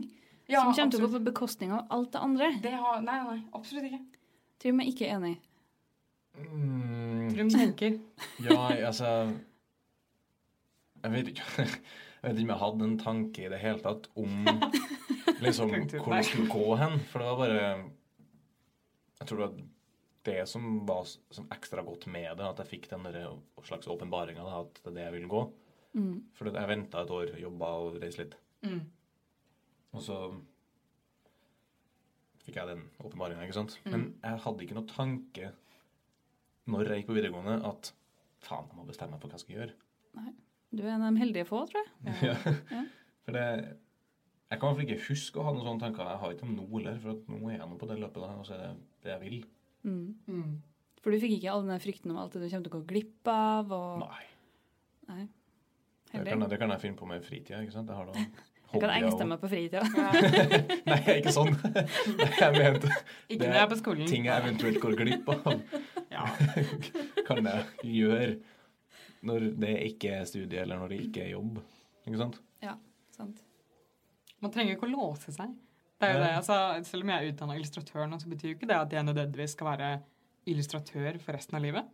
Speaker 3: som kommer til å gå på bekostning av alt det andre.
Speaker 2: det har, Nei, nei, absolutt ikke.
Speaker 3: Tror meg ikke enig.
Speaker 1: Mm,
Speaker 2: Trym tenker.
Speaker 1: ja, altså Jeg vet ikke Jeg vet ikke om jeg hadde en tanke i det hele tatt om liksom
Speaker 2: Tenkte du,
Speaker 1: hvor
Speaker 2: nei.
Speaker 1: det skulle gå hen. For det var bare Jeg tror det var det som var s- sånn ekstra godt med det, at jeg fikk den der slags åpenbaringa da, at det er det jeg vil gå.
Speaker 3: Mm.
Speaker 1: For det- jeg venta et år, jobba og reiste litt.
Speaker 2: Mm.
Speaker 1: Og så fikk jeg den åpenbaringa, ikke sant. Men jeg hadde ikke noe tanke når jeg gikk på videregående, at faen, jeg må bestemme meg for hva jeg skal gjøre.
Speaker 3: Du er en av de heldige få, tror jeg.
Speaker 1: Ja.
Speaker 3: Ja.
Speaker 1: For det Jeg kan i hvert fall ikke huske å ha noen sånne tanker. Jeg har ikke dem nå heller, for at nå er jeg nå på det løpet der, og så er det det jeg vil.
Speaker 3: Mm.
Speaker 2: Mm.
Speaker 3: For du fikk ikke all den der frykten om alt det du kommer til å gå glipp av. og...
Speaker 1: Nei.
Speaker 3: Nei.
Speaker 1: Det
Speaker 3: Heldig.
Speaker 1: kan, jeg- det kan jeg finne på med fritida, ikke sant. Jeg har da
Speaker 3: Jeg kan
Speaker 1: hobbyer
Speaker 3: engste
Speaker 1: og-
Speaker 3: meg på fritida.
Speaker 1: Nei, ikke sånn. Nei, jeg mente Det
Speaker 2: Ikke når jeg er på skolen.
Speaker 1: ting jeg eventuelt går glipp av.
Speaker 2: Ja.
Speaker 1: kan jeg gjøre når det ikke er studie, eller når det ikke er jobb. Ikke sant?
Speaker 3: Sant.
Speaker 2: Man trenger jo ikke å låse seg Det er jo
Speaker 1: Ja.
Speaker 2: det. Altså, selv om jeg er utdanna illustratør nå, så betyr jo ikke det at jeg nødvendigvis skal være illustratør for resten av livet.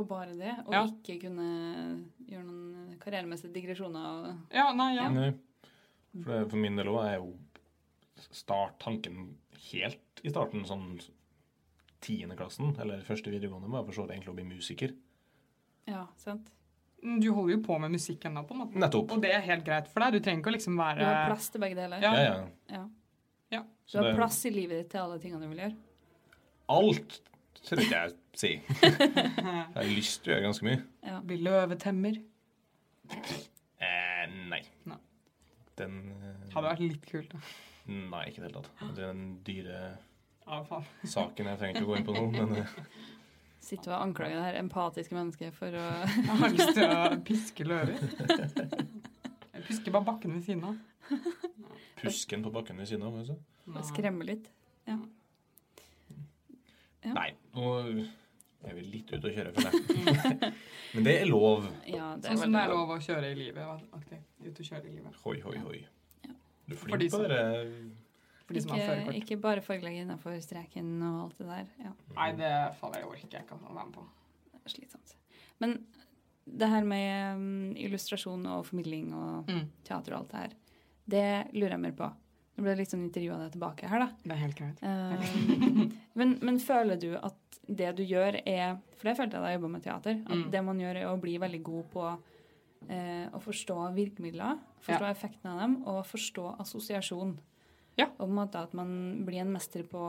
Speaker 3: Og bare det. Og
Speaker 2: Ja.
Speaker 3: ikke kunne gjøre noen karrieremessige digresjoner. og-
Speaker 2: Ja, nei, ja.
Speaker 1: Nei. For, det, for min del òg er jo start tanken helt i starten, sånn tiendeklassen, eller første videregående, var for så vidt egentlig å bli musiker.
Speaker 3: Ja, sant?
Speaker 2: Mm, Du holder jo på med musikk ennå, på en måte.
Speaker 1: Nettopp.
Speaker 2: Og det er helt greit for deg. Du trenger ikke å liksom
Speaker 3: Du
Speaker 2: være
Speaker 3: har plass til begge deler.
Speaker 2: Ja.
Speaker 1: Ja, ja.
Speaker 3: Ja. Du
Speaker 1: Så
Speaker 3: har
Speaker 1: det-
Speaker 3: plass i livet ditt til alle tingene du vil gjøre.
Speaker 1: Alt tror jeg ikke jeg sier. Jeg har lyst til å gjøre ganske mye.
Speaker 3: Ja.
Speaker 2: Bli løvetemmer.
Speaker 1: Eh, nei.
Speaker 2: Nei.
Speaker 1: Den eh,
Speaker 2: Hadde vært litt kult. da.
Speaker 1: Nei, ikke i det hele tatt. Den dyre
Speaker 2: Ja, faen.
Speaker 1: saken jeg trenger ikke å gå inn på nå, men eh,
Speaker 3: Sitter og anklager det her empatiske mennesket for å
Speaker 2: Jeg har lyst til å piske løver. Jeg pisker bare bakken ved siden av.
Speaker 1: pusken på bakken ved siden av. Altså.
Speaker 2: Nei.
Speaker 3: skremme litt. Ja.
Speaker 1: Nei, nå er vi litt ute å kjøre for det. Men det er lov.
Speaker 3: Ja, det er
Speaker 2: Sånn som
Speaker 3: veldig
Speaker 2: det er
Speaker 3: bra.
Speaker 2: lov å kjøre i livet. Aktig. Ut og kjøre i livet.
Speaker 1: Hoi, hoi, hoi. Du er
Speaker 2: For de
Speaker 1: flink på
Speaker 2: som-
Speaker 1: det.
Speaker 2: For de som har
Speaker 3: Ikke,
Speaker 2: førerkort.
Speaker 3: ikke bare fargelegge innenfor streken og alt det der. Ja,
Speaker 2: Nei, det faller jeg orker jeg ikke å være med på.
Speaker 3: det er slitsomt. Men det her med mm, illustrasjon og formidling og teater og alt det her, det lurer jeg mer på. Nå ble det litt sånn intervju av deg tilbake her, da.
Speaker 2: Det er helt greit.
Speaker 3: Eh, men, men føler du at det du gjør er For det følte jeg da jeg jobba med teater. At
Speaker 2: Mm.
Speaker 3: det man gjør, er å bli veldig god på eh, å forstå virkemidler, forstå effekten av dem, og forstå assosiasjon.
Speaker 2: Ja.
Speaker 3: Og på en måte at man blir en mester på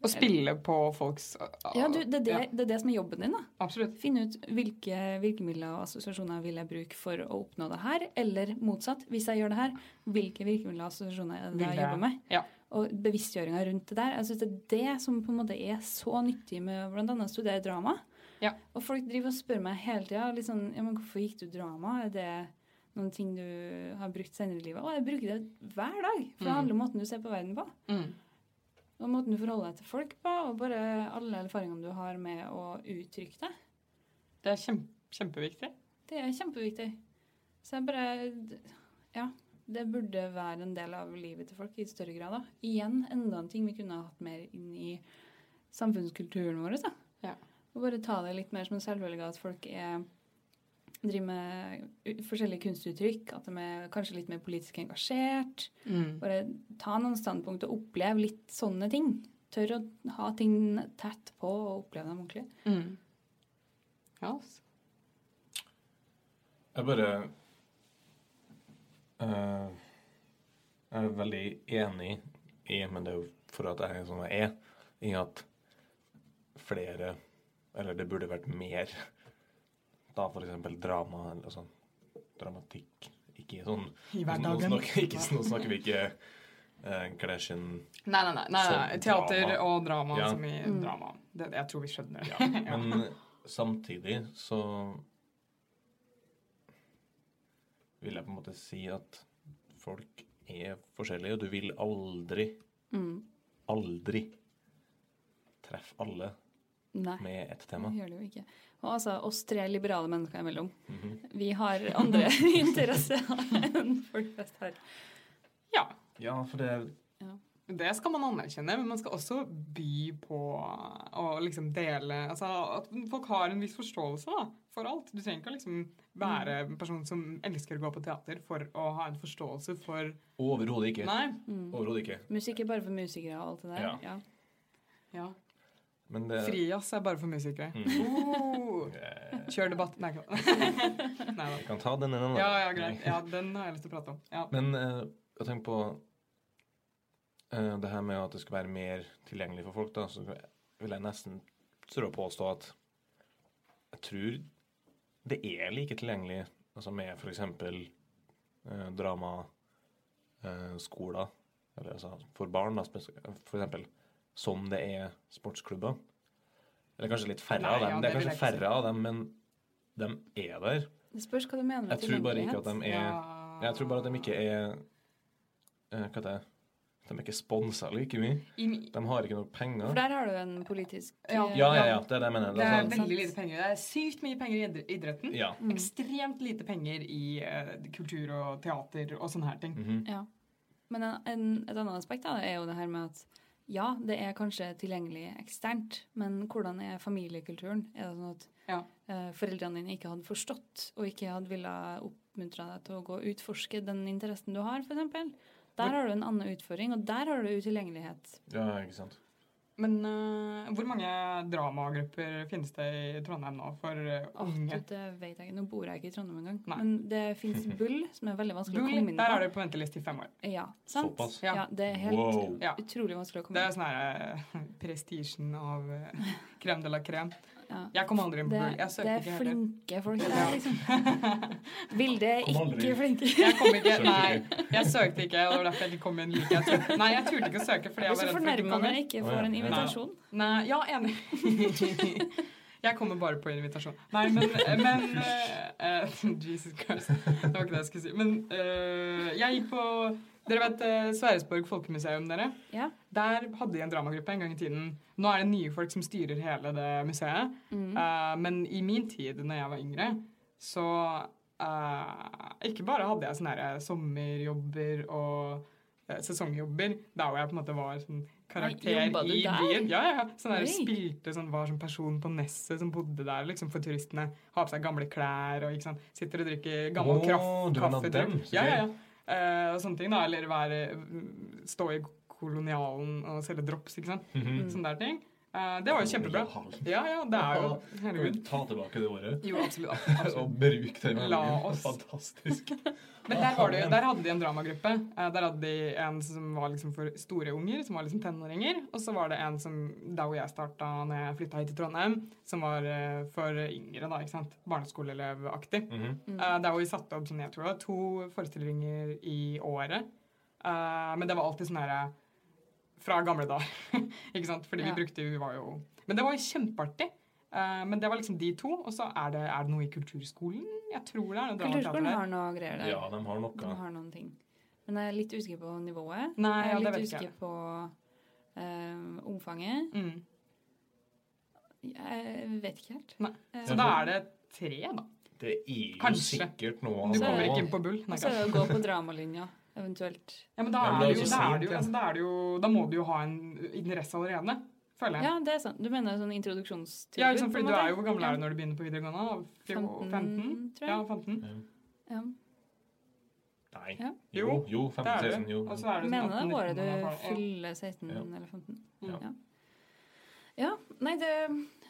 Speaker 2: Å spille på folks
Speaker 3: Ja, du, det, er det,
Speaker 2: Ja,
Speaker 3: det er det som er jobben din, da.
Speaker 2: absolutt.
Speaker 3: Finne ut hvilke virkemidler og assosiasjoner vil jeg bruke for å oppnå det her, eller motsatt. Hvis jeg gjør det her, hvilke virkemidler og assosiasjoner er det
Speaker 2: Vil
Speaker 3: jeg
Speaker 2: det-
Speaker 3: jobber med?
Speaker 2: ja.
Speaker 3: Og bevisstgjøringa rundt det der. Jeg syns det er det som på en måte er så nyttig med bl.a. å studere drama.
Speaker 2: Ja.
Speaker 3: Og folk driver og spør meg hele tida liksom, ja, men hvorfor gikk du drama? Er det noen ting du har brukt senere i livet? Å, jeg bruker det hver dag. For det
Speaker 2: Mm.
Speaker 3: handler om måten du ser på verden på.
Speaker 2: Mm.
Speaker 3: Og måten du forholder deg til folk på, og bare alle erfaringene du har med å uttrykke deg.
Speaker 2: Det er kjem, kjempeviktig.
Speaker 3: Det er kjempeviktig. Så jeg bare Ja. Det burde være en del av livet til folk i større grad. da. Igjen enda en ting vi kunne ha hatt mer inn i samfunnskulturen vår. da.
Speaker 2: Ja.
Speaker 3: Og bare ta det litt mer som en selvfølge at folk er driver med u- forskjellige kunstuttrykk, at de er kanskje litt mer politisk engasjert. Bare ta noen standpunkt og opplev litt sånne ting. Tør å ha ting tett på og oppleve dem ordentlig.
Speaker 2: Mm. Ja, altså.
Speaker 1: Jeg bare eh, Jeg er veldig enig i, men det er jo for at jeg er som jeg er, i at flere Eller det burde vært mer da f.eks. drama eller sånn dramatikk. Ikke sånn
Speaker 2: I
Speaker 1: Nå
Speaker 2: hverdagen.
Speaker 1: snakker, ikke, nå snakker vi ikke uh, Kardashian
Speaker 2: Nei, nei, nei. nei, nei.
Speaker 1: Som
Speaker 2: Teater
Speaker 1: drama.
Speaker 2: og drama
Speaker 1: Ja.
Speaker 2: som i
Speaker 3: Mm.
Speaker 2: drama. Det, jeg tror vi skjønner det.
Speaker 1: Ja, men samtidig så vil jeg på en måte si at folk er forskjellige, og du vil aldri,
Speaker 3: Mm.
Speaker 1: aldri treffe alle
Speaker 3: Nei.
Speaker 1: med ett tema.
Speaker 3: Vi gjør det jo ikke. Og altså, oss tre liberale mennesker imellom.
Speaker 1: Mhm.
Speaker 3: Vi har andre interesser enn folk flest har.
Speaker 2: Ja.
Speaker 1: Ja, for det er
Speaker 2: Det skal man anerkjenne, men man skal også by på å liksom dele altså At folk har en viss forståelse da, for alt. Du trenger ikke å liksom være
Speaker 3: Mm.
Speaker 2: en person som elsker å gå på teater for å ha en forståelse for
Speaker 1: overhodet ikke.
Speaker 2: Nei.
Speaker 1: Overhodet ikke.
Speaker 3: Mm. Musikk er bare for musikere og alt det der.
Speaker 1: Ja.
Speaker 3: Ja.
Speaker 2: Ja.
Speaker 1: Men det
Speaker 2: Frijazz er bare for musikere. Oh.
Speaker 1: Eh,
Speaker 2: Kjør debatt. Nei, ikke- Nei da.
Speaker 1: Jeg kan ta den en annen.
Speaker 2: Ja, ja, greit. Ja, den har jeg lyst til å prate om. Ja.
Speaker 1: Men eh, jeg tenker på eh, det her med at det skal være mer tilgjengelig for folk, da, så vil jeg nesten tørre å påstå at jeg tror det er like tilgjengelig altså med f.eks. Eh, drama, eh, skoler, eller altså for barn, da, spes- for eksempel, som det er sportsklubber. Eller kanskje litt færre
Speaker 2: Nei,
Speaker 1: av dem.
Speaker 2: ja,
Speaker 1: det
Speaker 2: det
Speaker 1: er
Speaker 2: vil jeg
Speaker 1: kanskje
Speaker 2: ikke si.
Speaker 1: færre av dem, men de er der.
Speaker 3: Det spørs hva du mener med
Speaker 1: Jeg tror bare ikke at de er
Speaker 2: Ja.
Speaker 1: jeg tror bare at de ikke er eh, Hva heter det? De er ikke sponsa like mye.
Speaker 2: I-
Speaker 1: De har ikke noe
Speaker 3: For
Speaker 1: penger.
Speaker 3: der har du en politisk
Speaker 2: Ja.
Speaker 1: Ja, ja, ja. Det er det jeg mener.
Speaker 2: Det er
Speaker 1: sånn-
Speaker 3: sant. Mm.
Speaker 2: veldig lite penger. Det er sykt mye penger i idre- idretten.
Speaker 1: ja.
Speaker 2: Ekstremt lite penger i eh, kultur og teater og sånne her ting.
Speaker 1: Mhm.
Speaker 3: Ja. Men en, en, et annet aspekt da, er jo det her med at ja, det er kanskje tilgjengelig eksternt, men hvordan er familiekulturen? Er det sånn at
Speaker 2: Ja.
Speaker 3: eh, foreldrene dine ikke hadde forstått og ikke hadde villet oppmuntre deg til å gå og utforske den interessen du har, f.eks.? Der har du en annen utføring, og der har du utilgjengelighet.
Speaker 1: Ja, ikke sant.
Speaker 2: Men eh, hvor mange dramagrupper finnes det i Trondheim nå for eh,
Speaker 3: Åh, du,
Speaker 2: unge?
Speaker 3: det vet jeg ikke. Nå bor jeg ikke i Trondheim engang.
Speaker 2: Nei.
Speaker 3: Men det fins Bull, som er veldig vanskelig å
Speaker 2: Bull,
Speaker 3: komme inn
Speaker 2: der er
Speaker 3: på.
Speaker 2: du på venteliste i fem år.
Speaker 3: Ja, sant?
Speaker 1: Såpass.
Speaker 3: Ja, det er helt
Speaker 1: Wow.
Speaker 2: Ja.
Speaker 3: utrolig vanskelig å
Speaker 2: Det
Speaker 3: komme
Speaker 2: er
Speaker 3: inn
Speaker 2: sånn her eh, prestisjen av eh, crème de la crème.
Speaker 3: Ja.
Speaker 2: Jeg kom aldri inn på
Speaker 3: Det,
Speaker 2: Bull. Jeg
Speaker 3: det
Speaker 2: søker
Speaker 3: er
Speaker 2: ikke heller.
Speaker 3: flinke folk der, liksom. Vilde er
Speaker 1: Kom aldri.
Speaker 3: ikke flinke.
Speaker 2: Jeg kom ikke,
Speaker 1: Søkte
Speaker 2: nei, jeg søkte ikke, og det var derfor jeg ikke kom inn like jeg turte. Nei, jeg turte ikke å søke fordi jeg
Speaker 3: Blir
Speaker 2: var
Speaker 3: så
Speaker 2: redd for ikke å
Speaker 3: fornærma
Speaker 2: komme
Speaker 3: når
Speaker 2: inn.
Speaker 3: jeg ikke
Speaker 1: Å,
Speaker 3: får
Speaker 1: ja.
Speaker 3: en
Speaker 1: Ja.
Speaker 3: invitasjon.
Speaker 2: Nei, ja, enig. Jeg kommer bare på invitasjon. Nei, men, men eh, eh, Jesus Christ. Det var ikke det jeg skulle si. Men eh, jeg gikk på Dere vet eh, Sverresborg folkemuseum, dere?
Speaker 3: Ja.
Speaker 2: Der hadde de en dramagruppe en gang i tiden. Nå er det nye folk som styrer hele det museet.
Speaker 3: Mm.
Speaker 2: Eh, men i min tid, når jeg var yngre, så eh, Ikke bare hadde jeg sånne her sommerjobber og eh, sesongjobber, der hvor jeg på en måte var sånn karakter
Speaker 3: jobba du
Speaker 2: i
Speaker 3: der?
Speaker 2: byen. Ja, ja, ja. Sånn der,
Speaker 3: Oi.
Speaker 2: spilte sånn, var sånn person på Nesset som bodde der liksom, for turistene. Har på seg gamle klær og ikke sant? sitter og drikker gammel
Speaker 1: Å,
Speaker 2: kraft,
Speaker 1: du er en av
Speaker 2: kaffe.
Speaker 1: dem,
Speaker 2: drikk.
Speaker 1: så
Speaker 2: Ja,
Speaker 1: gøy.
Speaker 2: ja, ja. Eh, og sånne ting, da. Eller være, stå i kolonialen og selge drops, ikke sant.
Speaker 1: Mhm.
Speaker 2: Sånne der ting. Eh, det var jo kjempebra.
Speaker 1: Kolonialen.
Speaker 2: Ja, ja, det er jo
Speaker 1: Kan vi
Speaker 2: Herregud.
Speaker 1: ta tilbake det ordet?
Speaker 2: Jo, absolutt.
Speaker 1: Og bruk det. i meldingen.
Speaker 2: La oss.
Speaker 1: Fantastisk.
Speaker 2: Men der, var det, jo- der hadde de en dramagruppe. Eh, Der hadde de en som var liksom for store unger, som var liksom tenåringer. Og så var det en som, der hvor jeg starta når jeg flytta hit til Trondheim, som var eh, for yngre, da, ikke sant. Barneskoleelevaktig.
Speaker 1: Mhm.
Speaker 2: Eh, Der hvor vi satte opp sånn, jeg tror det var to forestillinger i året. Eh, Men det var alltid sånn herre fra gamle dager. ikke sant? Fordi
Speaker 3: Ja.
Speaker 2: vi brukte vi var jo Men det var jo kjempeartig. Eh, Men det var liksom de to. Og så er det, er det noe i kulturskolen? Jeg tror det er noe dramateater
Speaker 3: Kulturskolen
Speaker 2: der.
Speaker 3: har noe greier der.
Speaker 1: Ja, de har
Speaker 3: De
Speaker 1: noe.
Speaker 3: har noen ting. Men jeg er litt usikker på nivået.
Speaker 2: Nei,
Speaker 3: jeg
Speaker 2: ja, det
Speaker 3: er litt
Speaker 2: vet ikke
Speaker 3: usikker
Speaker 2: jeg.
Speaker 3: på eh, omfanget.
Speaker 2: Mm.
Speaker 3: Jeg vet ikke helt. Eh,
Speaker 2: Nei. Så da er det tre, da.
Speaker 1: Det er jo
Speaker 2: Kanskje.
Speaker 1: sikkert noe altså.
Speaker 2: Du
Speaker 1: av
Speaker 2: kommer
Speaker 1: det
Speaker 2: ikke
Speaker 1: også.
Speaker 2: inn på Bull. Nei,
Speaker 3: Og så er det å gå på dramalinja, eventuelt.
Speaker 2: ja, men da
Speaker 1: Ja, men
Speaker 2: er det
Speaker 1: det er
Speaker 2: jo,
Speaker 1: så
Speaker 2: da er det
Speaker 1: sent,
Speaker 2: jo,
Speaker 1: ja.
Speaker 2: altså, da er det jo Da må du jo ha en interesse allerede, føler jeg.
Speaker 3: Ja, det er sant. Du mener sånn introduksjonstilbud?
Speaker 2: Ja, ikke sant,
Speaker 3: på en
Speaker 2: fordi du
Speaker 3: måte?
Speaker 2: er jo Hvor gammel er du når du begynner på videregående? da? Fjo-
Speaker 3: 15,
Speaker 2: 15?
Speaker 3: tror jeg.
Speaker 2: Ja, 15.
Speaker 3: Ja.
Speaker 1: Nei.
Speaker 3: Ja.
Speaker 1: Jo, jo.
Speaker 2: Det er
Speaker 1: 15-16,
Speaker 2: du.
Speaker 1: jo.
Speaker 2: Og så er
Speaker 3: Jeg
Speaker 2: det sånn
Speaker 3: mener det
Speaker 2: 18,
Speaker 3: er bare
Speaker 2: 19 og
Speaker 3: du
Speaker 2: sånn.
Speaker 3: fyller 16
Speaker 1: Ja.
Speaker 3: eller 15.
Speaker 2: Ja.
Speaker 3: Ja. ja. Nei, det,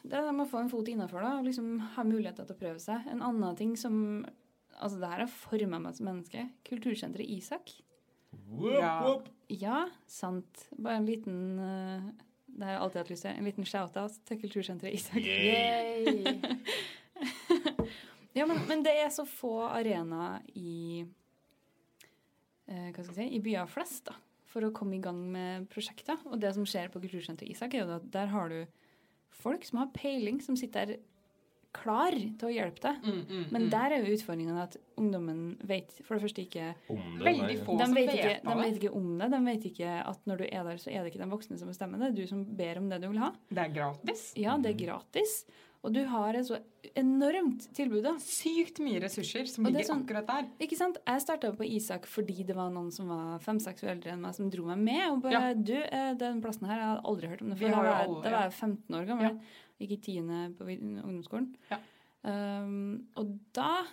Speaker 3: det er det med å få en fot innafor, da. og Liksom ha muligheter til å prøve seg. En annen ting som Altså, det her har forma meg som menneske. Kultursenteret Isak.
Speaker 1: Whoop,
Speaker 2: Ja.
Speaker 1: whoop.
Speaker 3: Ja, sant. Bare en liten eh, Det har jeg alltid hatt lyst til. En liten shout-out til Kultursenteret Isak.
Speaker 1: Yay.
Speaker 3: Ja, men, men det er så få arenaer i eh, Hva skal jeg si I byer flest, da. For å komme i gang med prosjekter. Og det som skjer på Kultursenteret Isak, er jo at der har du folk som har peiling, som sitter der klar til å hjelpe deg.
Speaker 2: Mm, mm,
Speaker 3: Men
Speaker 2: mm.
Speaker 3: der er jo utfordringen at ungdommen vet for det første ikke
Speaker 1: Om det,
Speaker 2: Veldig
Speaker 1: nei.
Speaker 2: få
Speaker 3: de
Speaker 2: som
Speaker 3: vet,
Speaker 2: vet
Speaker 3: ikke,
Speaker 2: av
Speaker 3: de
Speaker 2: det.
Speaker 3: vet ikke om det. De vet ikke at når du er der, så er det ikke de voksne som bestemmer det. Det er du som ber om det du vil ha.
Speaker 2: Det er gratis.
Speaker 3: Ja, det
Speaker 2: Mm.
Speaker 3: er gratis. Og du har et så enormt tilbud, da.
Speaker 2: Sykt mye ressurser som
Speaker 3: Og det
Speaker 2: ligger
Speaker 3: er sånn-
Speaker 2: akkurat der.
Speaker 3: Ikke sant? Jeg starta på Isak fordi det var noen som var fem-seks år eldre enn meg, som dro meg med. Og bare Du, eh, den plassen her, jeg hadde aldri hørt om det
Speaker 2: Vi
Speaker 3: før. Da
Speaker 2: har jo
Speaker 3: var, jeg-
Speaker 2: alle-
Speaker 3: da var
Speaker 2: ja.
Speaker 3: jeg 15 år gammel. Gikk i tiende på vid- ungdomsskolen.
Speaker 2: Ja.
Speaker 3: Um, og da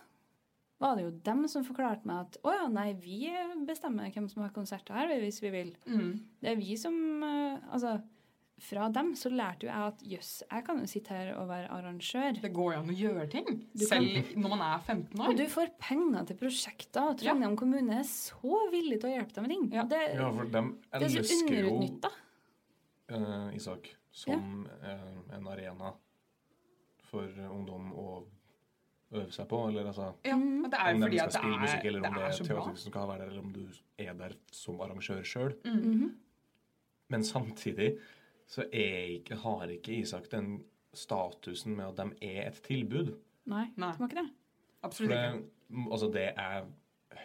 Speaker 3: var det jo dem som forklarte meg at å ja, nei, vi bestemmer hvem som har konserter her, hvis vi vil.
Speaker 2: Mm.
Speaker 3: Det er vi som eh, Altså, fra dem så lærte jo jeg at jøss, jeg kan jo sitte her og være arrangør.
Speaker 2: Det går jo an å gjøre ting.
Speaker 3: Du kan-
Speaker 2: Selv når man er 15 år.
Speaker 3: Og du får penger til prosjekter, og Trondheim kommune er så villig til å hjelpe deg med ting.
Speaker 2: Ja.
Speaker 3: Det,
Speaker 1: Ja, for de
Speaker 3: det er så
Speaker 1: elsker jo
Speaker 3: underutnytta.
Speaker 1: eh, Isak som eh, en arena for ungdom å øve seg på. Eller altså
Speaker 2: Ja, men det er jo
Speaker 1: Om de
Speaker 2: fordi
Speaker 1: skal
Speaker 2: at det
Speaker 1: spille musikk,
Speaker 2: er,
Speaker 1: eller om
Speaker 2: det
Speaker 1: det
Speaker 2: er
Speaker 1: er
Speaker 2: så bra.
Speaker 1: teaterstykket som skal være der, eller om du er der som arrangør sjøl.
Speaker 2: Mm.
Speaker 3: Mhm.
Speaker 1: Men samtidig så er ikke, har ikke Isak den statusen med at de er et tilbud.
Speaker 3: Nei,
Speaker 2: Nei.
Speaker 3: det var ikke det.
Speaker 1: For
Speaker 2: Absolutt
Speaker 1: det,
Speaker 2: ikke.
Speaker 1: altså det jeg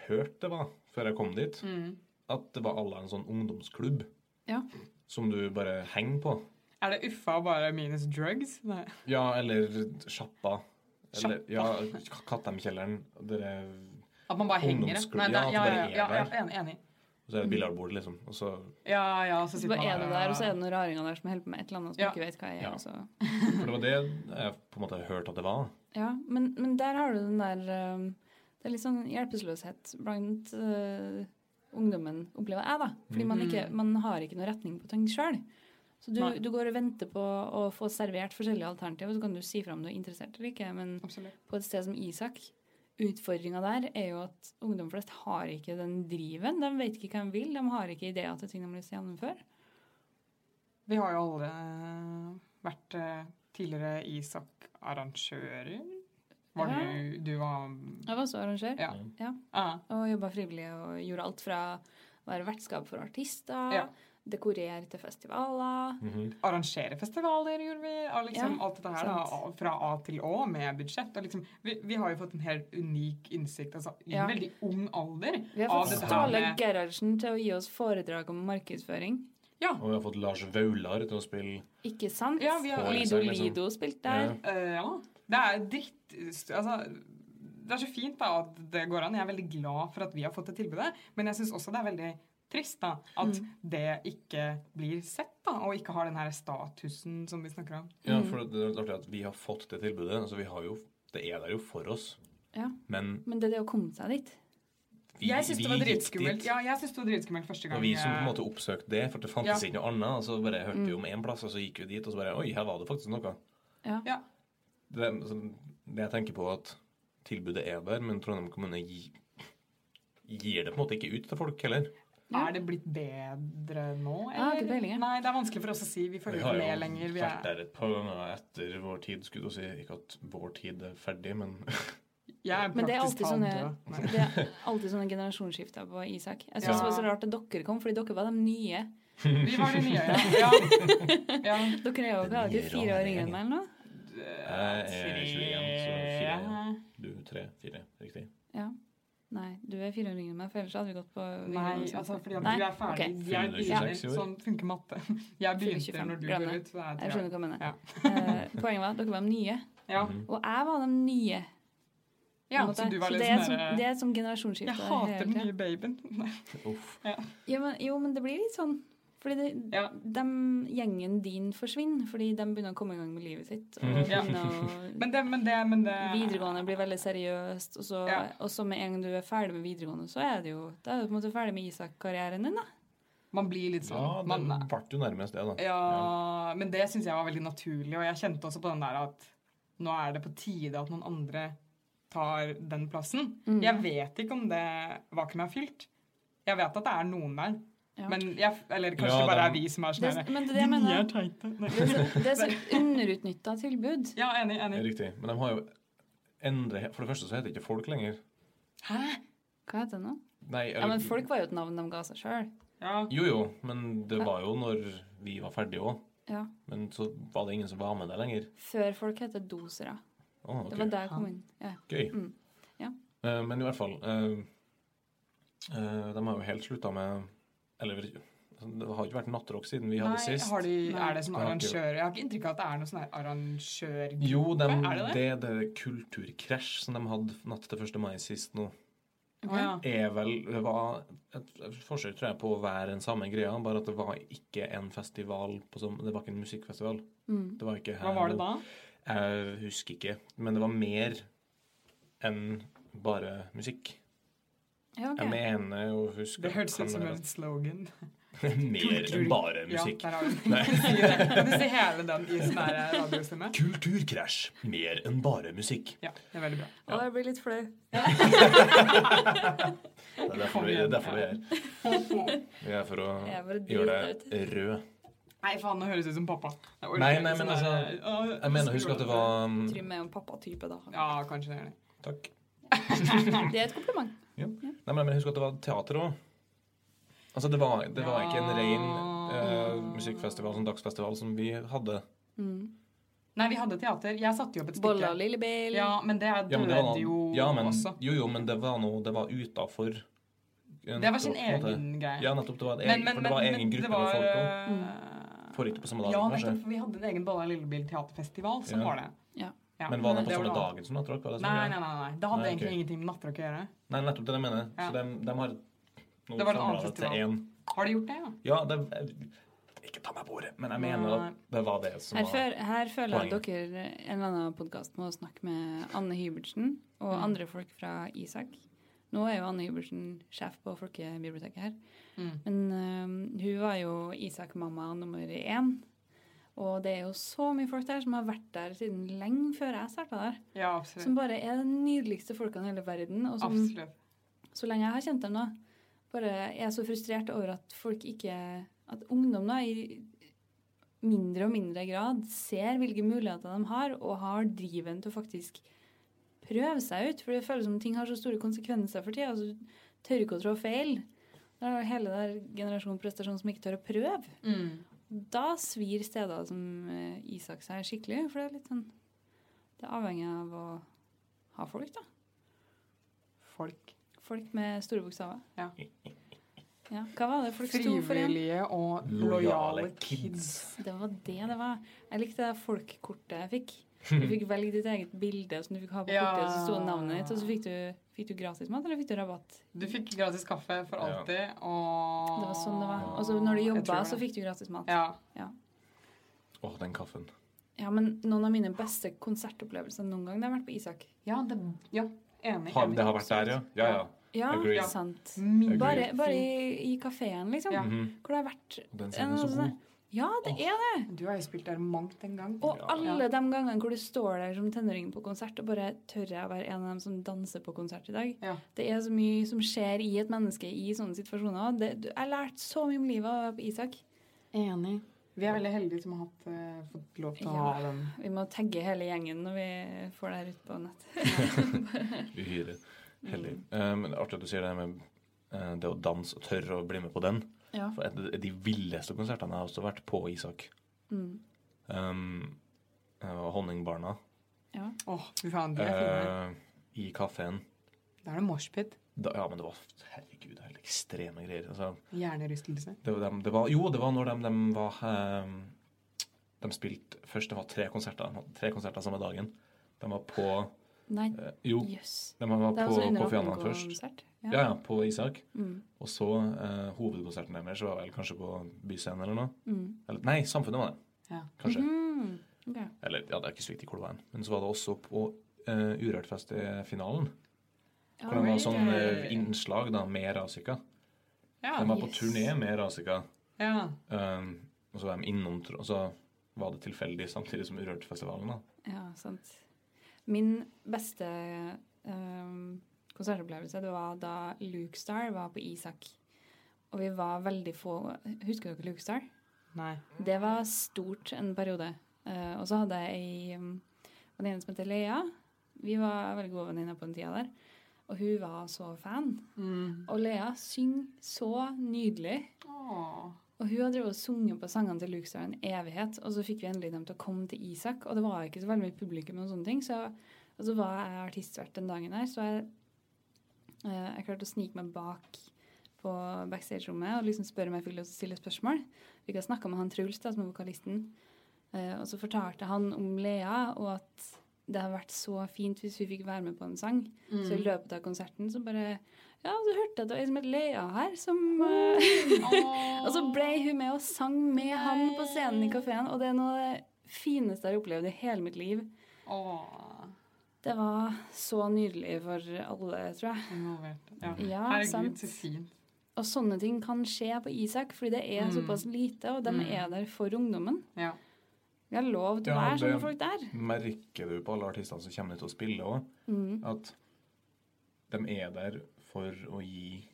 Speaker 1: hørte det var før jeg kom dit,
Speaker 2: Mm.
Speaker 1: at det var alle en sånn ungdomsklubb
Speaker 3: Ja.
Speaker 1: som du bare henger på.
Speaker 2: Er det uffa bare minus drugs? Nei.
Speaker 1: Ja, eller sjappa. Eller, ja, Kattheimkjelleren. Dere
Speaker 2: At man bare henger?
Speaker 1: Ungdomsklubb,
Speaker 2: Nei, det-
Speaker 1: ja, at
Speaker 2: ja,
Speaker 1: det
Speaker 2: ja,
Speaker 1: bare er
Speaker 2: ja, ja,
Speaker 1: der.
Speaker 2: enig. enig.
Speaker 1: Og så er det et biljardbord, liksom. Og så
Speaker 2: Ja, ja, så
Speaker 3: Så
Speaker 2: sitter
Speaker 3: bare
Speaker 2: man
Speaker 3: er du der, og så er det noen raringer der som holder på med et eller annet som
Speaker 2: Ja.
Speaker 3: du ikke vet hva er.
Speaker 1: Ja.
Speaker 3: Og så.
Speaker 1: For det var det jeg på en måte hørte at det var.
Speaker 3: Ja, men, men der har du den der um, Det er litt sånn hjelpeløshet blant uh, ungdommen, opplever jeg, da. Fordi man,
Speaker 2: Mm.
Speaker 3: ikke, man har ikke noe retning på ting sjøl. Så du,
Speaker 2: Nei.
Speaker 3: du går og venter på å få servert forskjellige alternativer, så kan du si fra om du er interessert eller ikke. Men
Speaker 2: Absolutt.
Speaker 3: på et sted som Isak, utfordringa der er jo at ungdom flest har ikke den driven. De vet ikke hva de vil, de har ikke ideer til ting de har lyst til å gjennomføre.
Speaker 2: Vi har jo alle eh, vært eh, tidligere Isak-arrangører. Var
Speaker 3: Ja.
Speaker 2: du Du var
Speaker 3: Jeg var også arrangør.
Speaker 2: Ja.
Speaker 3: ja.
Speaker 2: Ah,
Speaker 3: Og jobba frivillig og gjorde alt fra å være vertskap for artister,
Speaker 2: Ja.
Speaker 3: dekorere til festivaler.
Speaker 1: Mhm.
Speaker 2: arrangere festivaler gjorde vi. Og liksom
Speaker 3: Ja,
Speaker 2: alt dette her da,
Speaker 3: sant.
Speaker 2: fra A til Å med budsjett. Og liksom, vi, vi har jo fått en helt unik innsikt altså, i
Speaker 3: Ja.
Speaker 2: en veldig ung alder.
Speaker 3: Vi har
Speaker 2: av
Speaker 3: fått
Speaker 2: dette her
Speaker 3: Ståle
Speaker 2: med-
Speaker 3: Gerhardsen til å gi oss foredrag om markedsføring.
Speaker 2: Ja.
Speaker 1: Og vi har fått Lars Vaular til å spille
Speaker 3: Ikke sant?
Speaker 2: Ja, vi har-
Speaker 3: Lido
Speaker 1: Foredrag, liksom.
Speaker 3: Lido spilte der.
Speaker 2: Eh, ja. Det er dritt Altså, det er så fint da at det går an. Jeg er veldig glad for at vi har fått det tilbudet, men jeg syns også det er veldig trist da at
Speaker 3: Mm.
Speaker 2: det ikke blir sett, da, og ikke har den her statusen som vi snakker om.
Speaker 1: Ja, for det er artig at vi har fått det tilbudet. Altså, vi har jo, det er der jo for oss.
Speaker 3: Ja.
Speaker 1: Men
Speaker 3: Men det er det å komme seg dit.
Speaker 1: vi,
Speaker 2: jeg syns det var
Speaker 1: vi gikk
Speaker 2: dritskummelt.
Speaker 1: dit.
Speaker 2: Ja, jeg synes det var dritskummelt første
Speaker 1: Det
Speaker 2: gang.
Speaker 1: var vi som på en
Speaker 2: jeg-
Speaker 1: måte oppsøkte det, for det fantes
Speaker 2: Ja. Mm.
Speaker 1: ikke noe annet. Og så bare hørte vi om én plass, og så gikk vi dit, og så bare Oi, her var det faktisk noe.
Speaker 3: Ja.
Speaker 2: ja.
Speaker 1: Det, altså, det jeg tenker på, er at tilbudet er der, men Trondheim kommune gi, gir det på en måte ikke ut til folk heller.
Speaker 3: Ja.
Speaker 2: Er det blitt bedre nå, eller?
Speaker 3: Jeg har ikke peiling, jeg.
Speaker 2: Nei, det er vanskelig for oss å si. Vi følger
Speaker 1: Vi
Speaker 2: ikke
Speaker 1: har jo
Speaker 2: med lenger. Vi
Speaker 1: vært
Speaker 2: er,
Speaker 1: der et par ganger etter vår tid, skulle du si. Ikke at vår tid er ferdig, men
Speaker 2: jeg er
Speaker 3: Men det er
Speaker 2: praktisk
Speaker 3: alltid
Speaker 2: talt
Speaker 3: sånne,
Speaker 2: død. Nei.
Speaker 3: det er alltid sånne generasjonsskifter på Isak. Jeg syns
Speaker 2: Ja.
Speaker 3: det var så rart at dere kom, fordi dere var de nye.
Speaker 2: Vi var de nye, ja. ja. ja.
Speaker 3: Dere er jo hva er dere,
Speaker 1: nye
Speaker 3: fire år
Speaker 1: rare
Speaker 3: yngre enn meg eller noe?
Speaker 1: jeg er 21, så fire. Ja. Du er tre, fire, riktig.
Speaker 3: Ja. Nei, du er fire år yngre enn meg, for ellers hadde vi gått på
Speaker 2: Nei, altså fordi at
Speaker 3: Nei,
Speaker 2: du er ferdig. Jeg
Speaker 3: ok.
Speaker 1: Fyller du
Speaker 2: begynner,
Speaker 1: 26 år?
Speaker 2: sånn funker matte. Jeg
Speaker 3: Fyller
Speaker 2: begynte
Speaker 3: 25,
Speaker 2: når du
Speaker 3: glem
Speaker 2: går
Speaker 3: det.
Speaker 2: ut. Så er
Speaker 3: Jeg
Speaker 2: jeg
Speaker 3: skjønner hva jeg mener.
Speaker 2: Ja.
Speaker 3: Eh, poenget var at dere var de nye.
Speaker 2: Ja.
Speaker 1: Mhm.
Speaker 3: Og jeg var den nye. på en
Speaker 2: ja,
Speaker 3: måte.
Speaker 2: så du var
Speaker 3: Så
Speaker 2: litt
Speaker 3: det, er
Speaker 2: sånn
Speaker 3: som, det
Speaker 2: derre
Speaker 3: er som generasjonsskifte.
Speaker 2: Jeg hater den
Speaker 3: hele tiden.
Speaker 2: nye babyen.
Speaker 1: Uff.
Speaker 3: Jo men, jo, men det blir litt sånn. Fordi det,
Speaker 2: Ja.
Speaker 3: dem- gjengen din forsvinner, fordi de begynner å komme i gang med livet sitt. Og
Speaker 1: Mhm.
Speaker 2: Ja.
Speaker 3: begynner å-
Speaker 2: Men det, men det, men det
Speaker 3: videregående blir veldig seriøst, og så,
Speaker 2: Ja.
Speaker 3: og så med en gang du er ferdig med videregående, så er det jo, da er du på en måte ferdig med Isak-karrieren din, da.
Speaker 2: Man blir litt
Speaker 1: Ja,
Speaker 2: sånn.
Speaker 1: det
Speaker 2: Man,
Speaker 1: ble jo nærmest det, da.
Speaker 2: ja, men det syns jeg var veldig naturlig, og jeg kjente også på den der at nå er det på tide at noen andre tar den plassen.
Speaker 3: Mm.
Speaker 2: Jeg vet ikke om det vakuumet er fylt. Jeg vet at det er noen der.
Speaker 3: Ja.
Speaker 2: Men jeg, eller
Speaker 1: Ja,
Speaker 2: kanskje det bare
Speaker 1: dem-
Speaker 2: er vi som er sånn
Speaker 3: Det,
Speaker 2: her,
Speaker 3: men det, er det jeg
Speaker 2: «De
Speaker 3: mener
Speaker 2: er teite. Nei.
Speaker 3: det er så- det er så et underutnytta tilbud.
Speaker 2: Ja, enig, enig.
Speaker 1: Riktig. Men de har jo endret For det første så heter det ikke folk lenger.
Speaker 2: Hæ?
Speaker 3: Hva heter det nå?
Speaker 1: Nei,
Speaker 3: Ja, men folk var jo et navn de ga seg sjøl.
Speaker 2: Ja.
Speaker 1: Jo, jo, men det var jo når vi var ferdige òg.
Speaker 3: Ja.
Speaker 1: Men så var det ingen som var med der lenger.
Speaker 3: Før folk heter dosere.
Speaker 1: Å, ok.
Speaker 3: Det var der jeg kom inn. Ja.
Speaker 1: Gøy.
Speaker 3: Mm. Ja.
Speaker 1: Eh, men i hvert fall eh, eh, De har jo helt slutta med Eller altså, det har ikke vært nattrock siden vi hadde
Speaker 2: Nei,
Speaker 1: sist.
Speaker 2: har de,
Speaker 3: Nei.
Speaker 2: er det sånn
Speaker 1: Det har ikke
Speaker 2: arrangør Jeg har ikke inntrykk av at det er noe sånn her arrangør...
Speaker 1: Jo, de,
Speaker 2: Er
Speaker 1: det,
Speaker 2: det
Speaker 1: det? kulturkrasj som de hadde natt til 1. mai sist nå,
Speaker 2: Å, ja.
Speaker 1: er vel Det var et et forsøk, tror jeg, på å være den samme greia, bare at det var ikke en festival på som, Det var ikke en musikkfestival.
Speaker 3: Mm.
Speaker 1: Det var ikke
Speaker 2: Hva var det da?
Speaker 1: Jeg husker ikke. Men det var mer enn bare musikk.
Speaker 3: Ja, ok.
Speaker 1: Jeg mener å huske
Speaker 2: Det hørtes
Speaker 1: kan
Speaker 2: ut som
Speaker 1: være
Speaker 2: en slogan.
Speaker 1: at- Mer enn bare musikk.
Speaker 2: Ja, der har du den. Kan du si det? Kan du si hele den i sånn her radiostemme?
Speaker 1: Kulturkrasj. Mer enn bare musikk.
Speaker 2: Ja, det er veldig bra.
Speaker 3: Å, jeg blir litt flau.
Speaker 1: Det er derfor vi, det er, derfor vi er. her. Vi er for å
Speaker 3: Jeg bare
Speaker 1: gjøre
Speaker 3: driter
Speaker 1: deg rød.
Speaker 2: Nei, faen, nå høres det ut som pappa. Jeg orker
Speaker 1: Nei,
Speaker 2: ikke
Speaker 1: nei, men
Speaker 2: sånn
Speaker 1: altså,
Speaker 2: her, «Å,
Speaker 1: Jeg mener å huske at det var
Speaker 3: Trym er jo en pappatype, da.
Speaker 2: Ja, kanskje det er det.
Speaker 1: Takk.
Speaker 3: Det er et kompliment.
Speaker 1: Ja. Nei, men jeg mener å huske at det var teater òg. Altså, det var, det var ikke en ren eh, musikkfestival som dagsfestival som vi hadde.
Speaker 3: Mm.
Speaker 2: Nei, vi hadde teater. Jeg satte jo opp et
Speaker 3: Bolle og
Speaker 2: stykke.
Speaker 3: Lille Bill.
Speaker 2: Ja, men det
Speaker 1: Ja, men det
Speaker 2: døde
Speaker 1: var,
Speaker 2: jo
Speaker 1: ja, men,
Speaker 2: også.
Speaker 1: jo, jo, men det var noe Det var utafor
Speaker 2: Det var sin egen greie.
Speaker 1: Ja, nettopp. Det var, et egen, for det var egen
Speaker 2: det
Speaker 1: gruppe
Speaker 2: var,
Speaker 1: med folk òg.
Speaker 3: Mm.
Speaker 2: øh,
Speaker 1: Får ikke på samme dag,
Speaker 2: Ja,
Speaker 1: kanskje.
Speaker 2: nettopp, for vi hadde en egen Balla Lillebil teaterfestival, som
Speaker 1: Ja.
Speaker 2: var det.
Speaker 3: Ja.
Speaker 2: Ja,
Speaker 1: Men var det på
Speaker 2: Mm, det
Speaker 1: samme
Speaker 2: var-
Speaker 1: dagen som nattrock? var det sånn,
Speaker 2: Nei,
Speaker 1: ja?
Speaker 2: nei, nei, nei. Det hadde
Speaker 1: Nei,
Speaker 2: egentlig
Speaker 1: ok.
Speaker 2: ingenting med nattrock å gjøre.
Speaker 1: Nei, nettopp det jeg mener.
Speaker 2: Ja.
Speaker 1: Så de, har Nå
Speaker 2: Det var en
Speaker 1: samler
Speaker 2: annen
Speaker 1: jeg til
Speaker 2: festival.
Speaker 1: én.
Speaker 2: Har de gjort det, ja?
Speaker 1: Ja, det jeg- Ikke ta meg på ordet, men jeg mener
Speaker 2: Nei.
Speaker 1: at det var det som
Speaker 3: Her,
Speaker 1: var
Speaker 3: før, her føler jeg at
Speaker 1: Poenget.
Speaker 3: dere en eller annen podkast må snakke med Anne Hybertsen og andre folk fra Isak. Nå er jo Anne Hybertsen sjef på Folkebiblioteket her. Men øhm, hun var jo Isak-mamma nummer én. Og det er jo så mye folk der som har vært der siden lenge før jeg starta der.
Speaker 2: Ja, absolutt.
Speaker 3: Som bare er de nydeligste folkene i hele verden. Og som,
Speaker 2: absolutt.
Speaker 3: så lenge jeg har kjent dem nå, bare er jeg så frustrert over at folk ikke At ungdom da i mindre og mindre grad ser hvilke muligheter de har, og har driven til å faktisk prøve seg ut. For det føles som ting har så store konsekvenser for tida, og så tør ikke å trå feil. Det er jo hele der generasjonen prestasjon som ikke tør å prøve. Da svir steder som eh, Isak seg skikkelig, for det er litt sånn Det er avhengig av å ha folk, da.
Speaker 2: Folk.
Speaker 3: Folk med store bokstaver.
Speaker 2: Ja.
Speaker 3: Ja, Hva var det folk sto for igjen?
Speaker 2: Frivillige og
Speaker 1: Lojale
Speaker 2: lojale kids.
Speaker 1: kids.
Speaker 3: Det var det det var. Jeg likte det folkkortet jeg fikk. Du fikk velge ditt eget bilde som du fikk ha på
Speaker 2: Ja.
Speaker 3: kortet, og så sto det navnet ditt, og så fikk du, fikk du gratis mat, eller fikk du rabatt?
Speaker 2: Du fikk gratis kaffe for
Speaker 1: Ja.
Speaker 2: alltid, og
Speaker 3: Det var sånn det var. Og så når du
Speaker 2: Jeg
Speaker 3: jobba,
Speaker 2: tror det.
Speaker 3: så fikk du gratis mat.
Speaker 2: Ja.
Speaker 3: Ja.
Speaker 1: Åh, den kaffen.
Speaker 3: ja, men noen av mine beste konsertopplevelser noen gang, det har vært på Isak.
Speaker 2: Ja, det, ja. Enig.
Speaker 1: Har,
Speaker 2: enig.
Speaker 1: det har vært der, ja? Ja, ja.
Speaker 3: Ja,
Speaker 1: Agree.
Speaker 3: sant.
Speaker 2: Min-
Speaker 3: Bare, bare i, i kafeen, liksom.
Speaker 2: Ja.
Speaker 1: Mhm.
Speaker 3: Hvor det har vært
Speaker 1: Den scenen er så
Speaker 3: en-
Speaker 1: god.
Speaker 3: Ja, det er det!
Speaker 2: Du har jo spilt der mangt en gang.
Speaker 3: Og
Speaker 1: Ja.
Speaker 3: alle de gangene hvor du står der som tenåring på konsert og bare tør jeg å være en av dem som danser på konsert i dag.
Speaker 2: Ja.
Speaker 3: Det er så mye som skjer i et menneske i sånne situasjoner. Det, du- jeg har lært så mye om livet av å være på Isak.
Speaker 2: Enig. Vi er veldig heldige som har hatt, eh, fått lov til å
Speaker 3: Ja.
Speaker 2: ha den.
Speaker 3: Vi må tagge hele gjengen når vi får det her ut på nett.
Speaker 1: Uhyre
Speaker 2: Mm.
Speaker 1: heldig. Eh, men det er artig at du sier det med eh, det å danse og tørre å bli med på den.
Speaker 3: Ja.
Speaker 1: For et, de villeste konsertene har også vært på Isak.
Speaker 3: Mm.
Speaker 1: Um, eh, og Honningbarna
Speaker 3: ja.
Speaker 2: Åh, fy faen, de er fine.
Speaker 1: eh, i kafeen.
Speaker 2: Da er det moshpit.
Speaker 1: Da- Ja, men det var herregud, det er helt ekstreme greier. Altså,
Speaker 2: Hjernerystelse.
Speaker 1: det var dem, det var, jo, det var når de, dem var eh, De spilte først det var tre konserter de hadde tre konserter samme dagen. De var på
Speaker 3: Nei,
Speaker 1: eh, Jo,
Speaker 3: jøss.
Speaker 1: de var
Speaker 3: Det er
Speaker 1: på,
Speaker 3: altså under
Speaker 1: på Fjandland
Speaker 3: 18
Speaker 1: først.
Speaker 3: konsert.
Speaker 1: Ja, ja, på Isak.
Speaker 3: Mm.
Speaker 1: Og så eh, hovedkonserten deres var vel kanskje på Byscenen eller noe.
Speaker 3: Mm.
Speaker 1: Eller, nei, Samfunnet var det,
Speaker 2: Ja.
Speaker 1: kanskje.
Speaker 3: Mm. Ok.
Speaker 1: Eller ja, det er ikke så viktig hvor det var. hen. Men så var det også på eh, Urørtfest i finalen.
Speaker 3: Ja,
Speaker 1: Hvor det var
Speaker 3: oi.
Speaker 1: sånn eh, innslag da, med Rasika.
Speaker 2: Ja.
Speaker 1: De var på
Speaker 3: yes.
Speaker 1: turné med Rasika.
Speaker 2: ja.
Speaker 1: Um, og så var de innom tro- Og så var det tilfeldig samtidig som Urørtfestivalen. da.
Speaker 3: Ja, sant. Min beste ehm, konsertopplevelse det var da Luke Star var på Isak. Og vi var veldig få Husker dere Luke Star?
Speaker 2: Nei.
Speaker 3: Det var stort en periode. Eh, og så hadde jeg ei um, venninne som heter Lea. Vi var veldig gode venninner på den tida der. Og hun var så fan.
Speaker 2: Mm.
Speaker 3: Og Lea synger så nydelig.
Speaker 2: Åh.
Speaker 3: Og hun har drevet og sunget på sangene til Luke Star en evighet, og så fikk vi endelig dem til å komme til Isak. Og det var ikke så veldig mye publikum, og sånne ting, så, og så var jeg artistvert den dagen her, så jeg, eh, jeg klarte å snike meg bak på backstage-rommet og liksom spørre om jeg fikk lov til å stille spørsmål. Fikk jeg snakka med han Truls, da, som er vokalisten, eh, og så fortalte han om Lea, og at det hadde vært så fint hvis vi fikk være med på en sang. Så i løpet av konserten så bare Ja, så hørte jeg at det var ei som het Lea her, som eh, og så ble hun med og sang med han på scenen i kafeen, og det er noe av det fineste jeg har opplevd i hele mitt liv.
Speaker 2: Åh.
Speaker 3: Det var så nydelig for alle, tror jeg.
Speaker 2: Involvert. Ja.
Speaker 3: Ja,
Speaker 2: Herregud,
Speaker 3: sant.
Speaker 2: så fint.
Speaker 3: Og sånne ting kan skje på Isak, fordi det
Speaker 2: Mm.
Speaker 3: er såpass lite, og de er der for ungdommen.
Speaker 2: Ja.
Speaker 3: Vi har lov til å
Speaker 1: Ja,
Speaker 3: være
Speaker 1: det-
Speaker 3: sånne folk der.
Speaker 1: Merker du på alle artistene som kommer ut og spiller òg, at de er der for å gi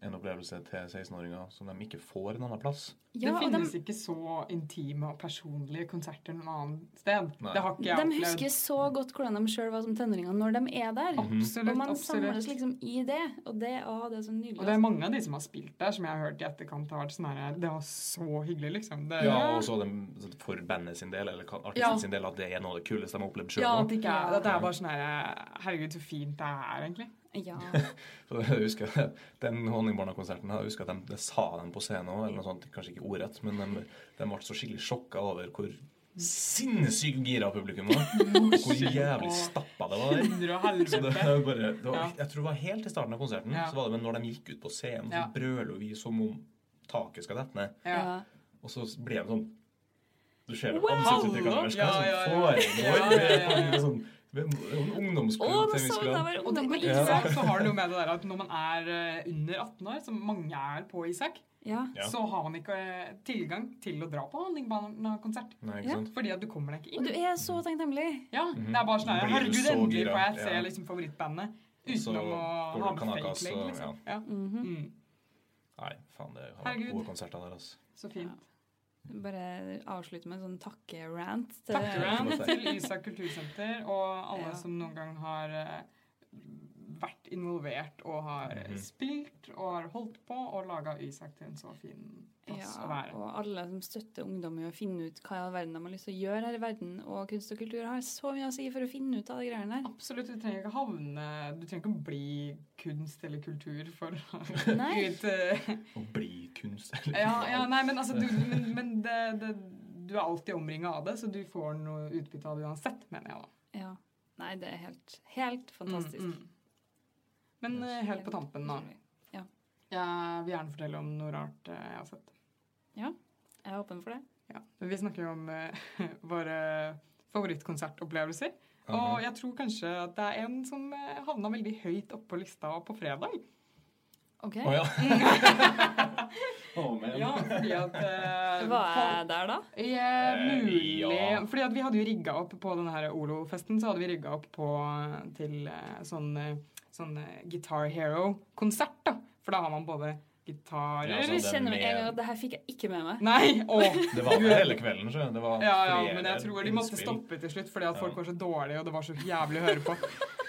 Speaker 1: en opplevelse til 16-åringer som de ikke får en annen plass?
Speaker 2: det
Speaker 3: Ja, og de,
Speaker 2: finnes ikke så intime og personlige konserter noe annet sted.
Speaker 1: Nei.
Speaker 2: Det har ikke jeg
Speaker 3: de husker så godt hvordan de sjøl var som tenåringer når de er
Speaker 1: Mhm.
Speaker 3: der.
Speaker 2: Absolutt,
Speaker 3: Og man samles
Speaker 2: absolutt.
Speaker 3: liksom i det, og det, å, det er så nydelig. altså.
Speaker 2: Og det er mange av de som har spilt der, som jeg har hørt i etterkant har vært sånn her Det var så hyggelig, liksom. Det,
Speaker 1: Ja, og så dem- så for bandet sin del, eller kan- artisten
Speaker 2: Ja.
Speaker 1: sin del, at det er noe av det kuleste de har opplevd
Speaker 2: Ja,
Speaker 1: sjøl.
Speaker 2: at det ikke er
Speaker 3: Ja.
Speaker 2: At det er bare sånn her Herregud, så fint det er, egentlig.
Speaker 3: Ja.
Speaker 1: Så jeg husker Den Honningbarna-konserten jeg husker at de, det sa de på scenen òg, eller noe sånt, kanskje ikke ordrett, men de, de ble så skikkelig sjokka over hvor sinnssykt gira publikum var. Hvor jævlig stappa det var der.
Speaker 2: Hundre og
Speaker 1: Så det
Speaker 2: helvete.
Speaker 1: er jo bare, det var,
Speaker 2: Ja.
Speaker 1: jeg tror det var helt i starten av konserten,
Speaker 2: Ja.
Speaker 1: så var det men når de gikk ut på scenen, så
Speaker 2: Ja.
Speaker 1: brøler vi som om taket skal dette ned.
Speaker 2: Ja.
Speaker 1: Og så ble det sånn Du ser det på
Speaker 3: Wow!
Speaker 1: ansiktsuttrykket deres.
Speaker 2: Ja,
Speaker 1: hva er
Speaker 2: ja, ja.
Speaker 1: det som
Speaker 2: Ja, ja, ja, ja.
Speaker 1: foregår? Det er Sånn, det er en
Speaker 3: Å,
Speaker 1: ungdomsklubb til en
Speaker 3: det så
Speaker 1: viss
Speaker 3: ut da
Speaker 1: grad.
Speaker 3: var det
Speaker 2: Og det,
Speaker 3: ungdom
Speaker 2: med
Speaker 3: på
Speaker 2: Isak
Speaker 3: Isak.
Speaker 2: så har det noe med det der at når man er eh, under 18 år, som mange er på Isak,
Speaker 3: Ja.
Speaker 1: Ja.
Speaker 2: så har man ikke eh, tilgang til å dra på handlingbana-konsert.
Speaker 1: Nei, ikke sant?
Speaker 2: Fordi at du kommer deg ikke
Speaker 3: Og du
Speaker 2: inn.
Speaker 3: er så takknemlig.
Speaker 2: Ja, det er bare sånn her,
Speaker 1: Mhm. Blir du
Speaker 2: Herregud,
Speaker 1: så
Speaker 2: endelig
Speaker 1: gira?
Speaker 2: får jeg se
Speaker 1: Ja.
Speaker 2: liksom, favorittbandet
Speaker 1: så
Speaker 2: utenom å
Speaker 1: går
Speaker 2: ha
Speaker 1: du
Speaker 2: med
Speaker 1: Kanakas,
Speaker 2: fake leg.
Speaker 1: og-
Speaker 2: Liksom. Ja. Mm.
Speaker 1: Nei, faen, det har vært
Speaker 2: Herregud.
Speaker 1: gode konserter der, altså.
Speaker 2: Så fint.
Speaker 3: Bare avslutte med en sånn takkerant. til-
Speaker 2: Takk Ram,
Speaker 1: Flott, det.
Speaker 2: til Isak kultursenter og alle
Speaker 3: Ja.
Speaker 2: som noen gang har eh, vært involvert og har eh,
Speaker 1: Mhm.
Speaker 2: spilt og har holdt på og laga Isak til en så fin plass å
Speaker 3: Ja,
Speaker 2: være.
Speaker 3: og alle som støtter ungdom i å finne ut hva i all verden de har lyst til å gjøre her i verden. Og kunst og kultur har så mye å si for å finne ut av de greiene der.
Speaker 2: Absolutt. Du trenger ikke havne Du trenger ikke å bli kunst eller kultur for å
Speaker 3: Nei.
Speaker 2: ut, eh,
Speaker 1: Å bli kunst, eller
Speaker 2: ja, ja, nei, men altså du, Men, men det, det, du er alltid omringa av det, så du får noe utbytte av det uansett, mener jeg da.
Speaker 3: Ja. Nei, det er helt, helt Mm, fantastisk.
Speaker 2: Mm, mm. Men eh, helt på tampen, da. Jeg vil gjerne fortelle om noe rart eh, jeg har sett.
Speaker 3: Ja. Jeg er åpen for det.
Speaker 2: Ja. Vi snakker jo om eh, våre favorittkonsertopplevelser.
Speaker 1: Mhm.
Speaker 2: Og jeg tror kanskje at det er en som eh, havna veldig høyt oppe på lista på fredag.
Speaker 3: OK.
Speaker 1: Å ja. Å, men.
Speaker 2: Ja, fordi at eh,
Speaker 3: Var
Speaker 2: folk-
Speaker 3: jeg der, da?
Speaker 2: Ja,
Speaker 1: Eh,
Speaker 2: mulig.
Speaker 1: ja.
Speaker 2: Fordi at vi hadde jo rigga opp på denne her Olo-festen, så hadde vi rigga opp på eh, til eh, sånn, eh, sånn eh, Guitar Hero-konsert, da. For da har man både gitarer
Speaker 1: Ja,
Speaker 3: Jeg
Speaker 1: sånn. det
Speaker 3: kjenner med en
Speaker 1: med-
Speaker 3: gang at det her fikk jeg ikke med meg.
Speaker 2: Nei! Å!
Speaker 1: Det var det hele kvelden, så det var
Speaker 2: Ja, ja,
Speaker 1: flere
Speaker 2: men jeg tror de måtte
Speaker 1: innspill.
Speaker 2: stoppe til slutt fordi at folk
Speaker 1: Ja.
Speaker 2: var så dårlige, og det var så jævlig å høre på.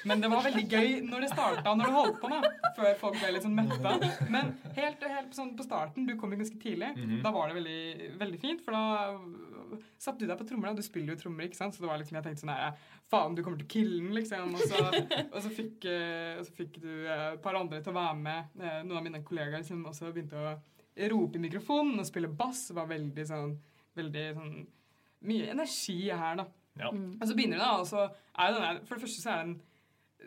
Speaker 2: Men det var veldig gøy når det starta, når du holdt på, da. Før folk ble litt sånn metta. Men helt, helt sånn på starten, du kom jo ganske tidlig,
Speaker 1: Mhm.
Speaker 2: da var det veldig, veldig fint. For da satte du deg på trommer, da. Du spiller jo trommer, ikke sant. Så det var liksom, jeg tenkte sånn her Faen, du kommer til å kille den, liksom. Og så, og så, fikk, eh, og så fikk du eh, et par andre til å være med. Eh, Noen av mine kollegaer som også begynte å rope i mikrofonen og spille bass. Var veldig sånn Veldig sånn Mye energi her, da.
Speaker 1: Ja.
Speaker 2: Og så begynner det, da, og så er det den der For det første så er den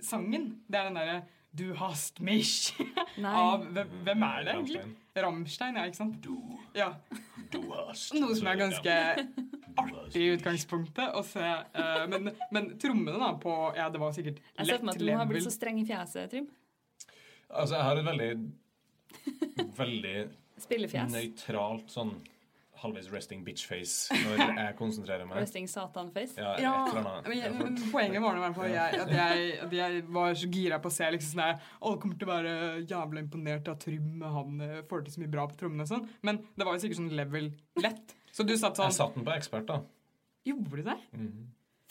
Speaker 2: sangen Det er den derre Du hast mich
Speaker 3: Nei.
Speaker 2: av hvem, hvem er det egentlig?
Speaker 1: Rammstein.
Speaker 2: Rammstein, ja, ikke sant?
Speaker 1: Du,
Speaker 2: Ja.
Speaker 1: du hast
Speaker 2: Noe som er ganske
Speaker 1: artig
Speaker 2: i utgangspunktet å se. eh, men, men trommene, da, på Ja, det var sikkert
Speaker 3: Jeg ser for meg
Speaker 2: lett
Speaker 3: at du må ha blitt
Speaker 2: level.
Speaker 3: så streng i fjeset, Trym.
Speaker 1: Altså, jeg har et veldig Veldig
Speaker 3: Spillefjes.
Speaker 1: nøytralt sånn halvveis resting bitch-face når jeg konsentrerer meg.
Speaker 3: Resting satan-face.
Speaker 1: Ja,
Speaker 2: Ja,
Speaker 1: et eller annet.
Speaker 2: men, jeg,
Speaker 1: Jeg får-
Speaker 2: men poenget var nå i hvert fall jeg- at jeg, at jeg var så gira på å se liksom sånn der Alle kommer til å være jævla imponert av Trym, han eh, får til så mye bra på trommene og sånn. Men det var jo sikkert sånn level lett. Så du satt sånn
Speaker 1: Jeg satte den på ekspert, da.
Speaker 2: Gjorde du det?
Speaker 1: Mhm.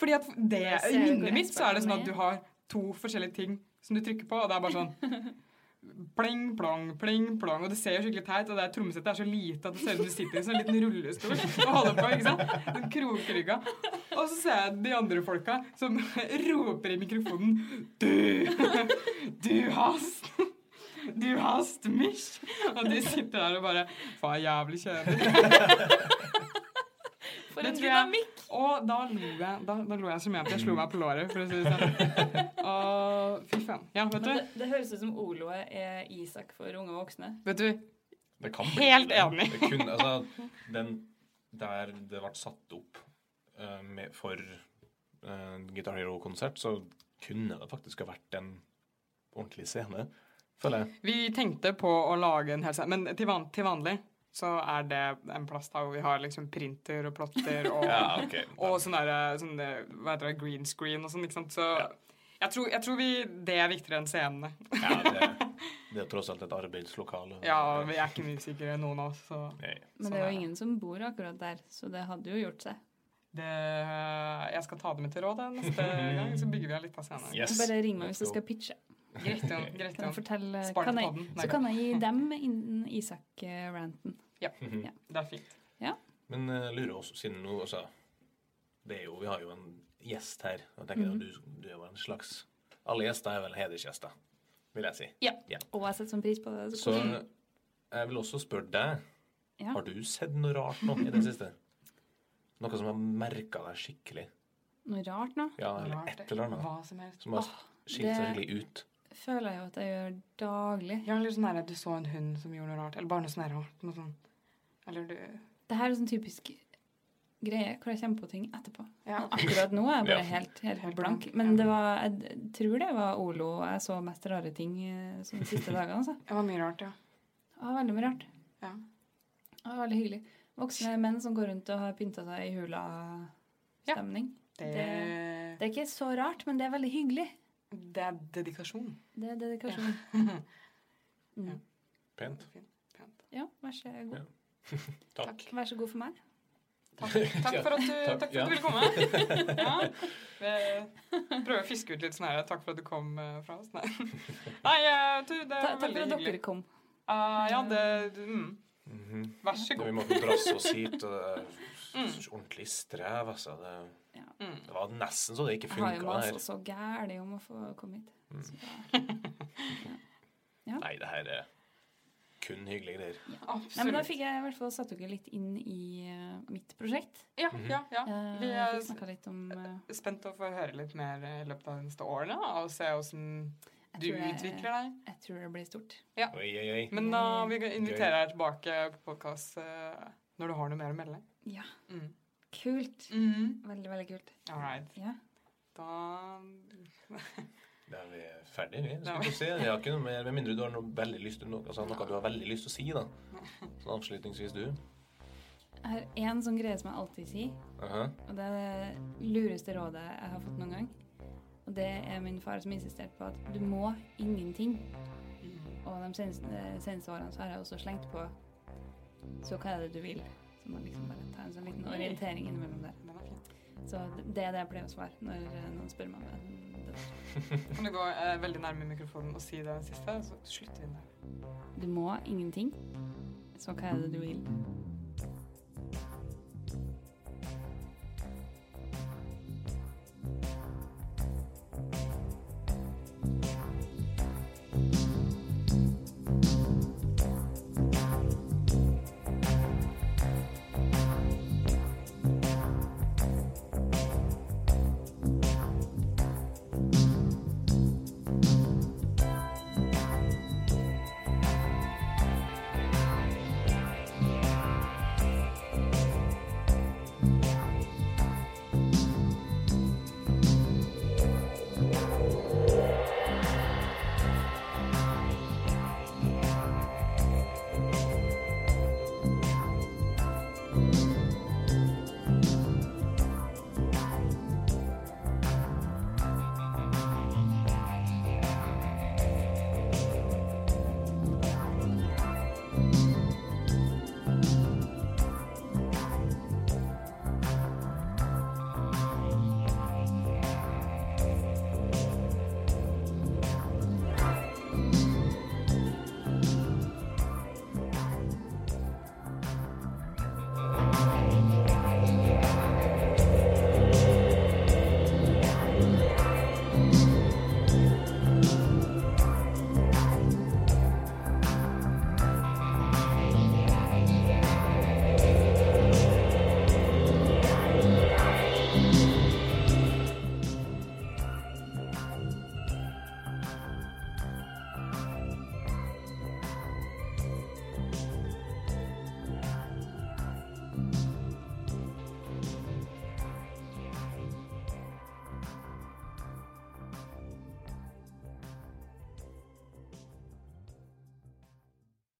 Speaker 2: Fordi at det,
Speaker 3: Jeg ser
Speaker 2: I
Speaker 3: jo
Speaker 2: minnet
Speaker 3: hvor
Speaker 2: mitt så er det sånn at
Speaker 3: eksperten
Speaker 2: du
Speaker 3: er.
Speaker 2: har to forskjellige ting som du trykker på, og det er bare sånn Pling, plong, pling, plong. Og det ser jo skikkelig teit ut. Trommesettet er så lite at det ser ut som du sitter i en sånn liten rullestol og holder på. ikke sant? Den krokrygga. Og så ser jeg de andre folka som roper i mikrofonen Du! Du hast! Du hast mich! Og de sitter der og bare Faen, jævlig kjedelig.
Speaker 3: For
Speaker 2: Det
Speaker 3: en
Speaker 2: tror jeg-
Speaker 3: dynamikk!
Speaker 2: Og da lo jeg, da, da lo jeg så mye at jeg slo meg på låret, for å si det sånn. Og fy faen. Ja, vet
Speaker 3: Men det,
Speaker 2: du.
Speaker 3: det høres ut som Oloet er Isak for unge voksne.
Speaker 2: Vet du,
Speaker 1: Det kan
Speaker 2: Helt
Speaker 1: det.
Speaker 2: enig.
Speaker 1: Det kunne, altså, den der det ble satt opp eh, med, for eh, Guitar Hero-konsert, så kunne det faktisk ha vært en ordentlig scene, føler jeg.
Speaker 2: vi tenkte på å lage en hel scene, men til, van, til vanlig så er det en plass der hvor vi har liksom printer og plotter og,
Speaker 1: ok.
Speaker 2: og sånn derre sånn, der, hva heter det, green screen og sånn, ikke sant. Så
Speaker 1: Ja.
Speaker 2: jeg, tror, jeg tror vi Det er viktigere enn scenene.
Speaker 1: Ja, det, det er tross alt et arbeidslokale.
Speaker 2: Ja, vi er ikke musikere, noen av oss, så
Speaker 1: Nei.
Speaker 3: Men
Speaker 2: Sånn
Speaker 3: det er
Speaker 2: er
Speaker 3: jo
Speaker 2: det.
Speaker 3: ingen som bor akkurat der, så det hadde jo gjort seg.
Speaker 2: det Jeg skal ta det med til råd jeg, neste gang, så bygger vi en liten scene.
Speaker 1: Yes.
Speaker 3: Bare ring meg
Speaker 1: Let's
Speaker 3: hvis du
Speaker 1: go.
Speaker 3: skal pitche.
Speaker 2: Greit, Jan. Greit,
Speaker 3: Kan jeg
Speaker 2: Jan.
Speaker 3: fortelle,
Speaker 2: Spar
Speaker 3: kan
Speaker 2: det på
Speaker 3: jeg,
Speaker 2: den. Nei,
Speaker 3: så kan jeg gi dem innen Isak-ranten.
Speaker 2: Det er fint.
Speaker 1: Mhm. Men eh, lurer oss, siden nå, altså det er jo, Vi har jo en gjest her. og Jeg tenker
Speaker 2: Mhm.
Speaker 1: at du, du er jo en slags Alle gjester er vel hedersgjester, vil jeg si.
Speaker 3: Og jeg setter sånn pris på det. Så
Speaker 1: Så jeg vil også spørre deg
Speaker 3: Ja.
Speaker 1: Har du sett noe rart nå i det siste? Noe som har merka deg skikkelig.
Speaker 3: Noe rart nå.
Speaker 1: Ja, eller
Speaker 2: Rart,
Speaker 1: et eller annet.
Speaker 2: Hva som helst.
Speaker 1: Som har skilt seg
Speaker 3: det-
Speaker 1: skikkelig ut.
Speaker 3: Føler jeg jo at jeg gjør daglig.
Speaker 2: Ja, eller sånn der at du så en hund som gjorde noe rart. Eller bare noe sånn her rart. Noe sånn. Eller du
Speaker 3: Det her er sånn typisk greie hvor jeg kommer på ting etterpå.
Speaker 2: Ja.
Speaker 3: Men Akkurat nå er jeg bare
Speaker 1: Ja.
Speaker 3: helt,
Speaker 2: Helt
Speaker 3: helt
Speaker 2: blank,
Speaker 3: blank.
Speaker 2: ja.
Speaker 3: Men det var, jeg d- tror det var Olo og jeg så mest rare ting eh, sånn de siste dagene. Altså.
Speaker 2: Det var mye rart, ja.
Speaker 3: Det var veldig mye rart.
Speaker 2: ja.
Speaker 3: Det var veldig hyggelig. Voksne menn som går rundt og har pynta seg i hula-stemning.
Speaker 2: Det,
Speaker 3: Det er ikke så rart, men det er veldig hyggelig.
Speaker 2: det er dedikasjon.
Speaker 3: Det er dedikasjon. Mm.
Speaker 1: Pent.
Speaker 2: Fint. Pent.
Speaker 3: Ja, vær så god.
Speaker 1: Takk.
Speaker 3: Vær så god for meg.
Speaker 2: Takk, takk for at du,
Speaker 1: Takk,
Speaker 2: takk for
Speaker 1: ja.
Speaker 2: at du ville komme. Ja. Vi prøver å fiske ut litt sånn her. Takk for at du kom eh, fra oss. Nei, Nei eh, du, det
Speaker 3: Ta,
Speaker 2: var
Speaker 3: takk for
Speaker 2: veldig
Speaker 3: at
Speaker 2: hyggelig.
Speaker 3: dere kom.
Speaker 2: Ah, ja, det du- mm.
Speaker 1: Mhm.
Speaker 2: Vær så
Speaker 1: Det, vi
Speaker 2: god.
Speaker 1: måtte drasse oss hit, og det er
Speaker 3: Mm.
Speaker 1: s- ordentlig strev, altså. Det,
Speaker 3: Ja.
Speaker 2: Mm.
Speaker 1: det var nesten så det ikke
Speaker 3: Jeg har jo
Speaker 1: funka her.
Speaker 3: masa så gæli om å få komme hit. Så da- Ja.
Speaker 1: Nei, det her er kun hyggelige greier.
Speaker 2: Absolutt.
Speaker 3: Nei, men Da fikk jeg i hvert fall satt dere litt inn i eh, mitt prosjekt.
Speaker 2: Ja,
Speaker 1: Mhm.
Speaker 2: ja, ja.
Speaker 3: Eh,
Speaker 2: Vi
Speaker 3: jeg
Speaker 2: er
Speaker 3: fikk snakka litt om eh,
Speaker 2: s- spent å få høre litt mer eh, i løpet av de neste årene, og se hvordan
Speaker 3: Jeg
Speaker 2: du
Speaker 3: tror jeg-
Speaker 2: utvikler deg.
Speaker 3: Jeg tror det blir stort.
Speaker 1: Oi, oi, oi.
Speaker 2: Men da vi inviterer deg tilbake på podkast når du har noe mer å melde.
Speaker 3: Ja.
Speaker 2: Mm.
Speaker 3: Kult.
Speaker 2: Mm.
Speaker 3: Veldig, veldig kult.
Speaker 2: All right.
Speaker 3: Mm-hmm. Ja.
Speaker 2: Da
Speaker 1: Da er vi ferdige, vi.
Speaker 2: Da
Speaker 1: Skal
Speaker 2: er vi-
Speaker 1: vi se. Jeg har ikke noe mer, med mindre du har noe veldig lyst til noe, altså, noe du har veldig lyst til å si, da. Sånn avslutningsvis, du.
Speaker 3: Jeg har én sånn greie som jeg alltid sier,
Speaker 1: Aha.
Speaker 3: og det er det lureste rådet jeg har fått noen gang. Og det er min far som insisterte på at du må ingenting. Og de seneste, seneste årene så har jeg også slengt på Så hva er det du vil? Så man liksom bare tar en sånn liten orientering innimellom der.
Speaker 2: Den er fin.
Speaker 3: Så det er det jeg pleier å svare når eh, noen spør meg om det.
Speaker 2: Kan du gå eh, veldig nærme mikrofonen og si det siste, så slutter vi der.
Speaker 3: Du må ingenting. Så hva er det du vil?